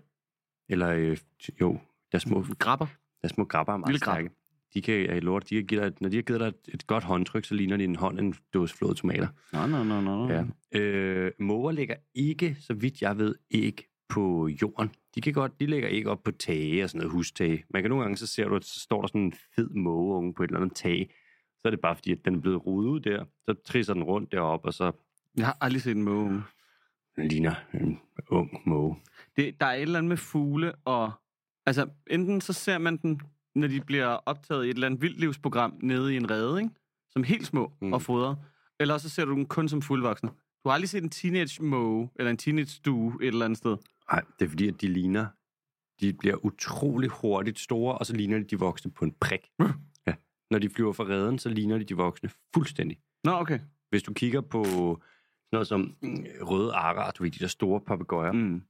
A: Eller øh, jo, der små,
C: Grabber.
A: der små grabber er meget
C: Vilde
A: stærke.
C: krab.
A: De kan, jeg lover, dig, de kan give dig, et- når de har givet dig et, et godt håndtryk, så ligner de en hånd en dåse flåede tomater.
B: Nå, nå, nå, nå. nå.
A: Ja. Øh, måger ligger ikke, så vidt jeg ved, ikke på jorden. De kan godt, de lægger ikke op på tage og sådan noget hustage. Man kan nogle gange, så ser du, at så står der sådan en fed mågeunge på et eller andet tag. Så er det bare fordi, at den er blevet rodet ud der. Så trisser den rundt deroppe, og så
C: Jeg har aldrig set en måge.
A: den ligner en ung måge.
C: Det, der er et eller andet med fugle, og altså, enten så ser man den, når de bliver optaget i et eller andet vildlivsprogram nede i en rede, ikke? som helt små
A: Mm.
C: mm. og fodrer, eller så ser du den kun som fuldvoksne. Du har aldrig set en teenage måge, eller en teenage due et eller andet sted.
A: Nej, det er fordi, at de ligner, de bliver utrolig hurtigt store, og så ligner de de voksne på en prik. ja. Når de flyver fra reden, så ligner de de voksne fuldstændig.
C: Nå, okay.
A: Hvis du kigger på sådan noget som mm, røde arer, du ved, de der store papegøjer,
C: Mm.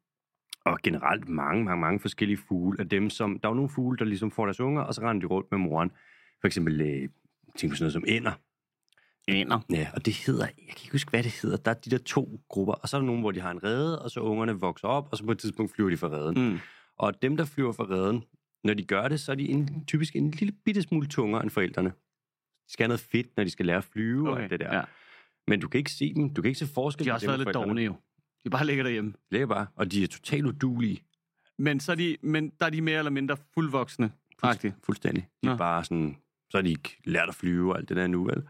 A: og generelt mange, mange, mange forskellige fugle af dem, som, der er jo nogle fugle, der ligesom får deres unger, og så render de rundt med moren. For eksempel, øh, tænk på sådan noget som ænder.
C: Ænder.
A: Ja, og det hedder, jeg kan ikke huske, hvad det hedder. Der er de der to grupper, og så er der nogen, hvor de har en rede, og så ungerne vokser op, og så på et tidspunkt flyver de fra reden.
C: Mm.
A: Og dem, der flyver fra reden, når de gør det, så er de en, typisk en lille bitte smule tungere end forældrene. De skal have noget fedt, når de skal lære at flyve okay, og alt det der. Ja.
C: Ja.
A: Men du kan ikke se dem. Du kan ikke se forskel
C: De har også
A: dem og
C: været lidt
A: forældrene.
C: dogne jo. De bare ligger derhjemme.
A: Det er bare, og de er totalt udulige.
C: Men, så er de, men der er de mere eller mindre fuldvoksne. Faktisk.
A: Fuldstændig. De er
C: Nå.
A: bare sådan, så har de ikke lært at flyve og alt det der nu, vel?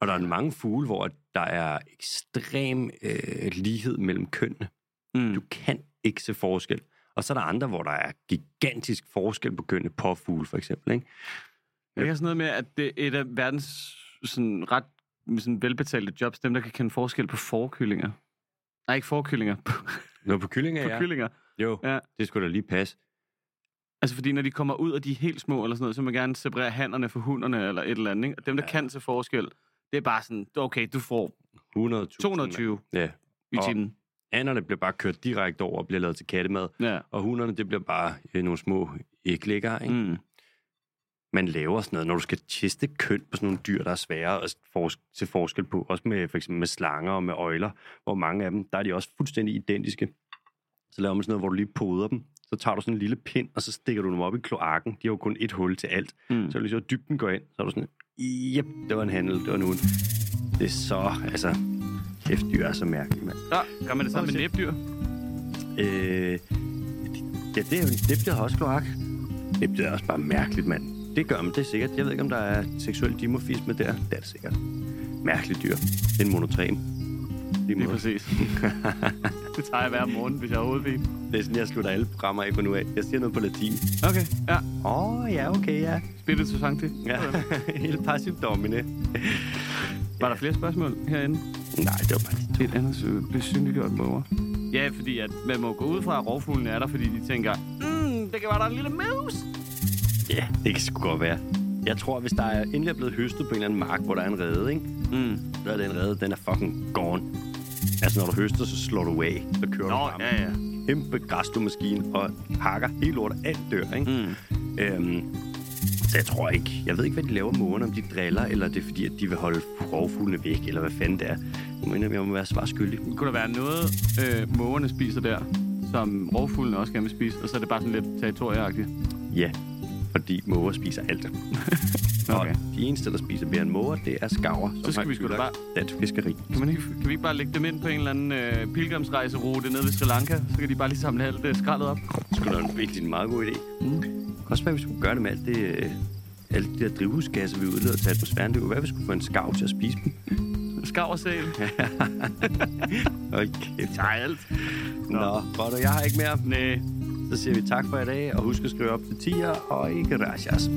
A: Og der er mange fugle, hvor der er ekstrem øh, lighed mellem kønnene.
C: Mm.
A: Du kan ikke se forskel. Og så er der andre, hvor der er gigantisk forskel på kønnene på fugle, for eksempel. Ikke?
C: Det er sådan noget med, at det er et af verdens sådan, ret sådan, velbetalte jobs, dem der kan kende forskel på forkyllinger. Nej, ikke forkyllinger. På,
A: Nå, på kyllinger,
C: på
A: ja.
C: kyllinger.
A: Jo, ja.
C: Ja.
A: det skulle da lige passe.
C: Altså, fordi når de kommer ud, og de er helt små eller sådan noget, så vil man gerne separere hannerne fra hunderne eller et eller andet. Ikke? Og dem, der
A: Ja.
C: ja. kan til forskel, det er bare sådan, okay, du får
A: 100.000.
C: 220
A: Ja.
C: i
A: Og-
C: timen.
A: Annerne bliver bare kørt direkte over og bliver lavet til kattemad.
C: Ja.
A: Og hunderne, det bliver bare øh, nogle små æglægger, ikke? Mm.
C: Mm.
A: Man laver sådan noget, når du skal teste køn på sådan nogle dyr, der er svære at fors- se forskel på. Også med for eksempel med slanger og med øjler, hvor mange af dem, der er de også fuldstændig identiske. Så laver man sådan noget, hvor du lige poder dem. Så tager du sådan en lille pind, og så stikker du dem op i kloakken. De har jo kun et hul til alt. Så
C: Mm.
A: er det ligesom, at dybden går ind. Så er du sådan, jep, det var en handel, det var en hund. Det er så, altså, kæft, dyr er så mærkeligt, mand.
C: Ja, gør man det samme med
A: Åh,
C: næbdyr?
A: Øh, ja, det er jo en dæbtet har også kloak. Dæbtet er også bare mærkeligt, mand. Det gør man, det er sikkert. Jeg ved ikke, om der er seksuel dimorfisme der. Det er det sikkert. Mærkeligt dyr. Det er en monotræm. Lige
C: Lige
A: måde.
C: præcis. det tager jeg hver morgen, hvis jeg har hovedpine.
A: Det er sådan, jeg slutter alle programmer af på nu af. Jeg siger noget på latin.
C: Okay, ja.
A: Åh, oh, ja, okay, ja.
C: Spiritus Sancti.
A: ja. Helt passiv domine.
C: Var der flere spørgsmål herinde?
A: Nej, det var bare de to.
C: Et andet besynliggjort måger. Ja, fordi at man må gå ud fra, at rovfuglene er der, fordi de tænker, mm, det kan være, der er en lille mus.
A: Ja, det kan sgu godt være. Jeg tror, hvis der er endelig er blevet høstet på en eller anden mark, hvor der er en rede, ikke?
C: Mm.
A: Så er den rede, den er fucking gone. Altså, når du høster, så slår du af. Så kører
C: Nå,
A: du frem.
C: ja, ja.
A: kæmpe græsdomaskine og hakker helt lortet. Alt dør, ikke?
C: Mm.
A: Mm. Øhm, så jeg tror ikke. Jeg ved ikke, hvad de laver mågerne, om de driller, eller det er fordi, at de vil holde rovfuglene væk, eller hvad fanden det er. Jeg mener, jeg må være svarskyldig.
C: Kunne der være noget, øh, mågerne spiser der, som rovfuglene også gerne vil spise, og så er det bare sådan lidt territorieagtigt?
A: Ja, fordi måger spiser alt.
C: Okay.
A: Og de eneste, der spiser mere end måger, det er skaver. som
C: Så skal
A: har
C: vi sgu da
A: ødelagt Dansk fiskeri.
C: Kan, man ikke, kan vi ikke bare lægge dem ind på en eller anden øh, pilgrimsrejserute nede ved Sri Lanka? Så kan de bare lige samle alt det skraldet op.
A: Det skulle da virkelig en meget god idé.
C: Mm.
A: Også hvad vi skulle gøre det med alt det, øh, alle de der drivhusgasser, vi udleder til atmosfæren. Det var, hvad vi skulle få en skav til at spise dem.
C: Skav og sæl.
A: Hold kæft.
C: Tager alt.
A: Nå, godt, og jeg har ikke mere.
C: Næh.
A: Så siger vi tak for i dag, og husk at skrive op til 10'er, og ikke gracias.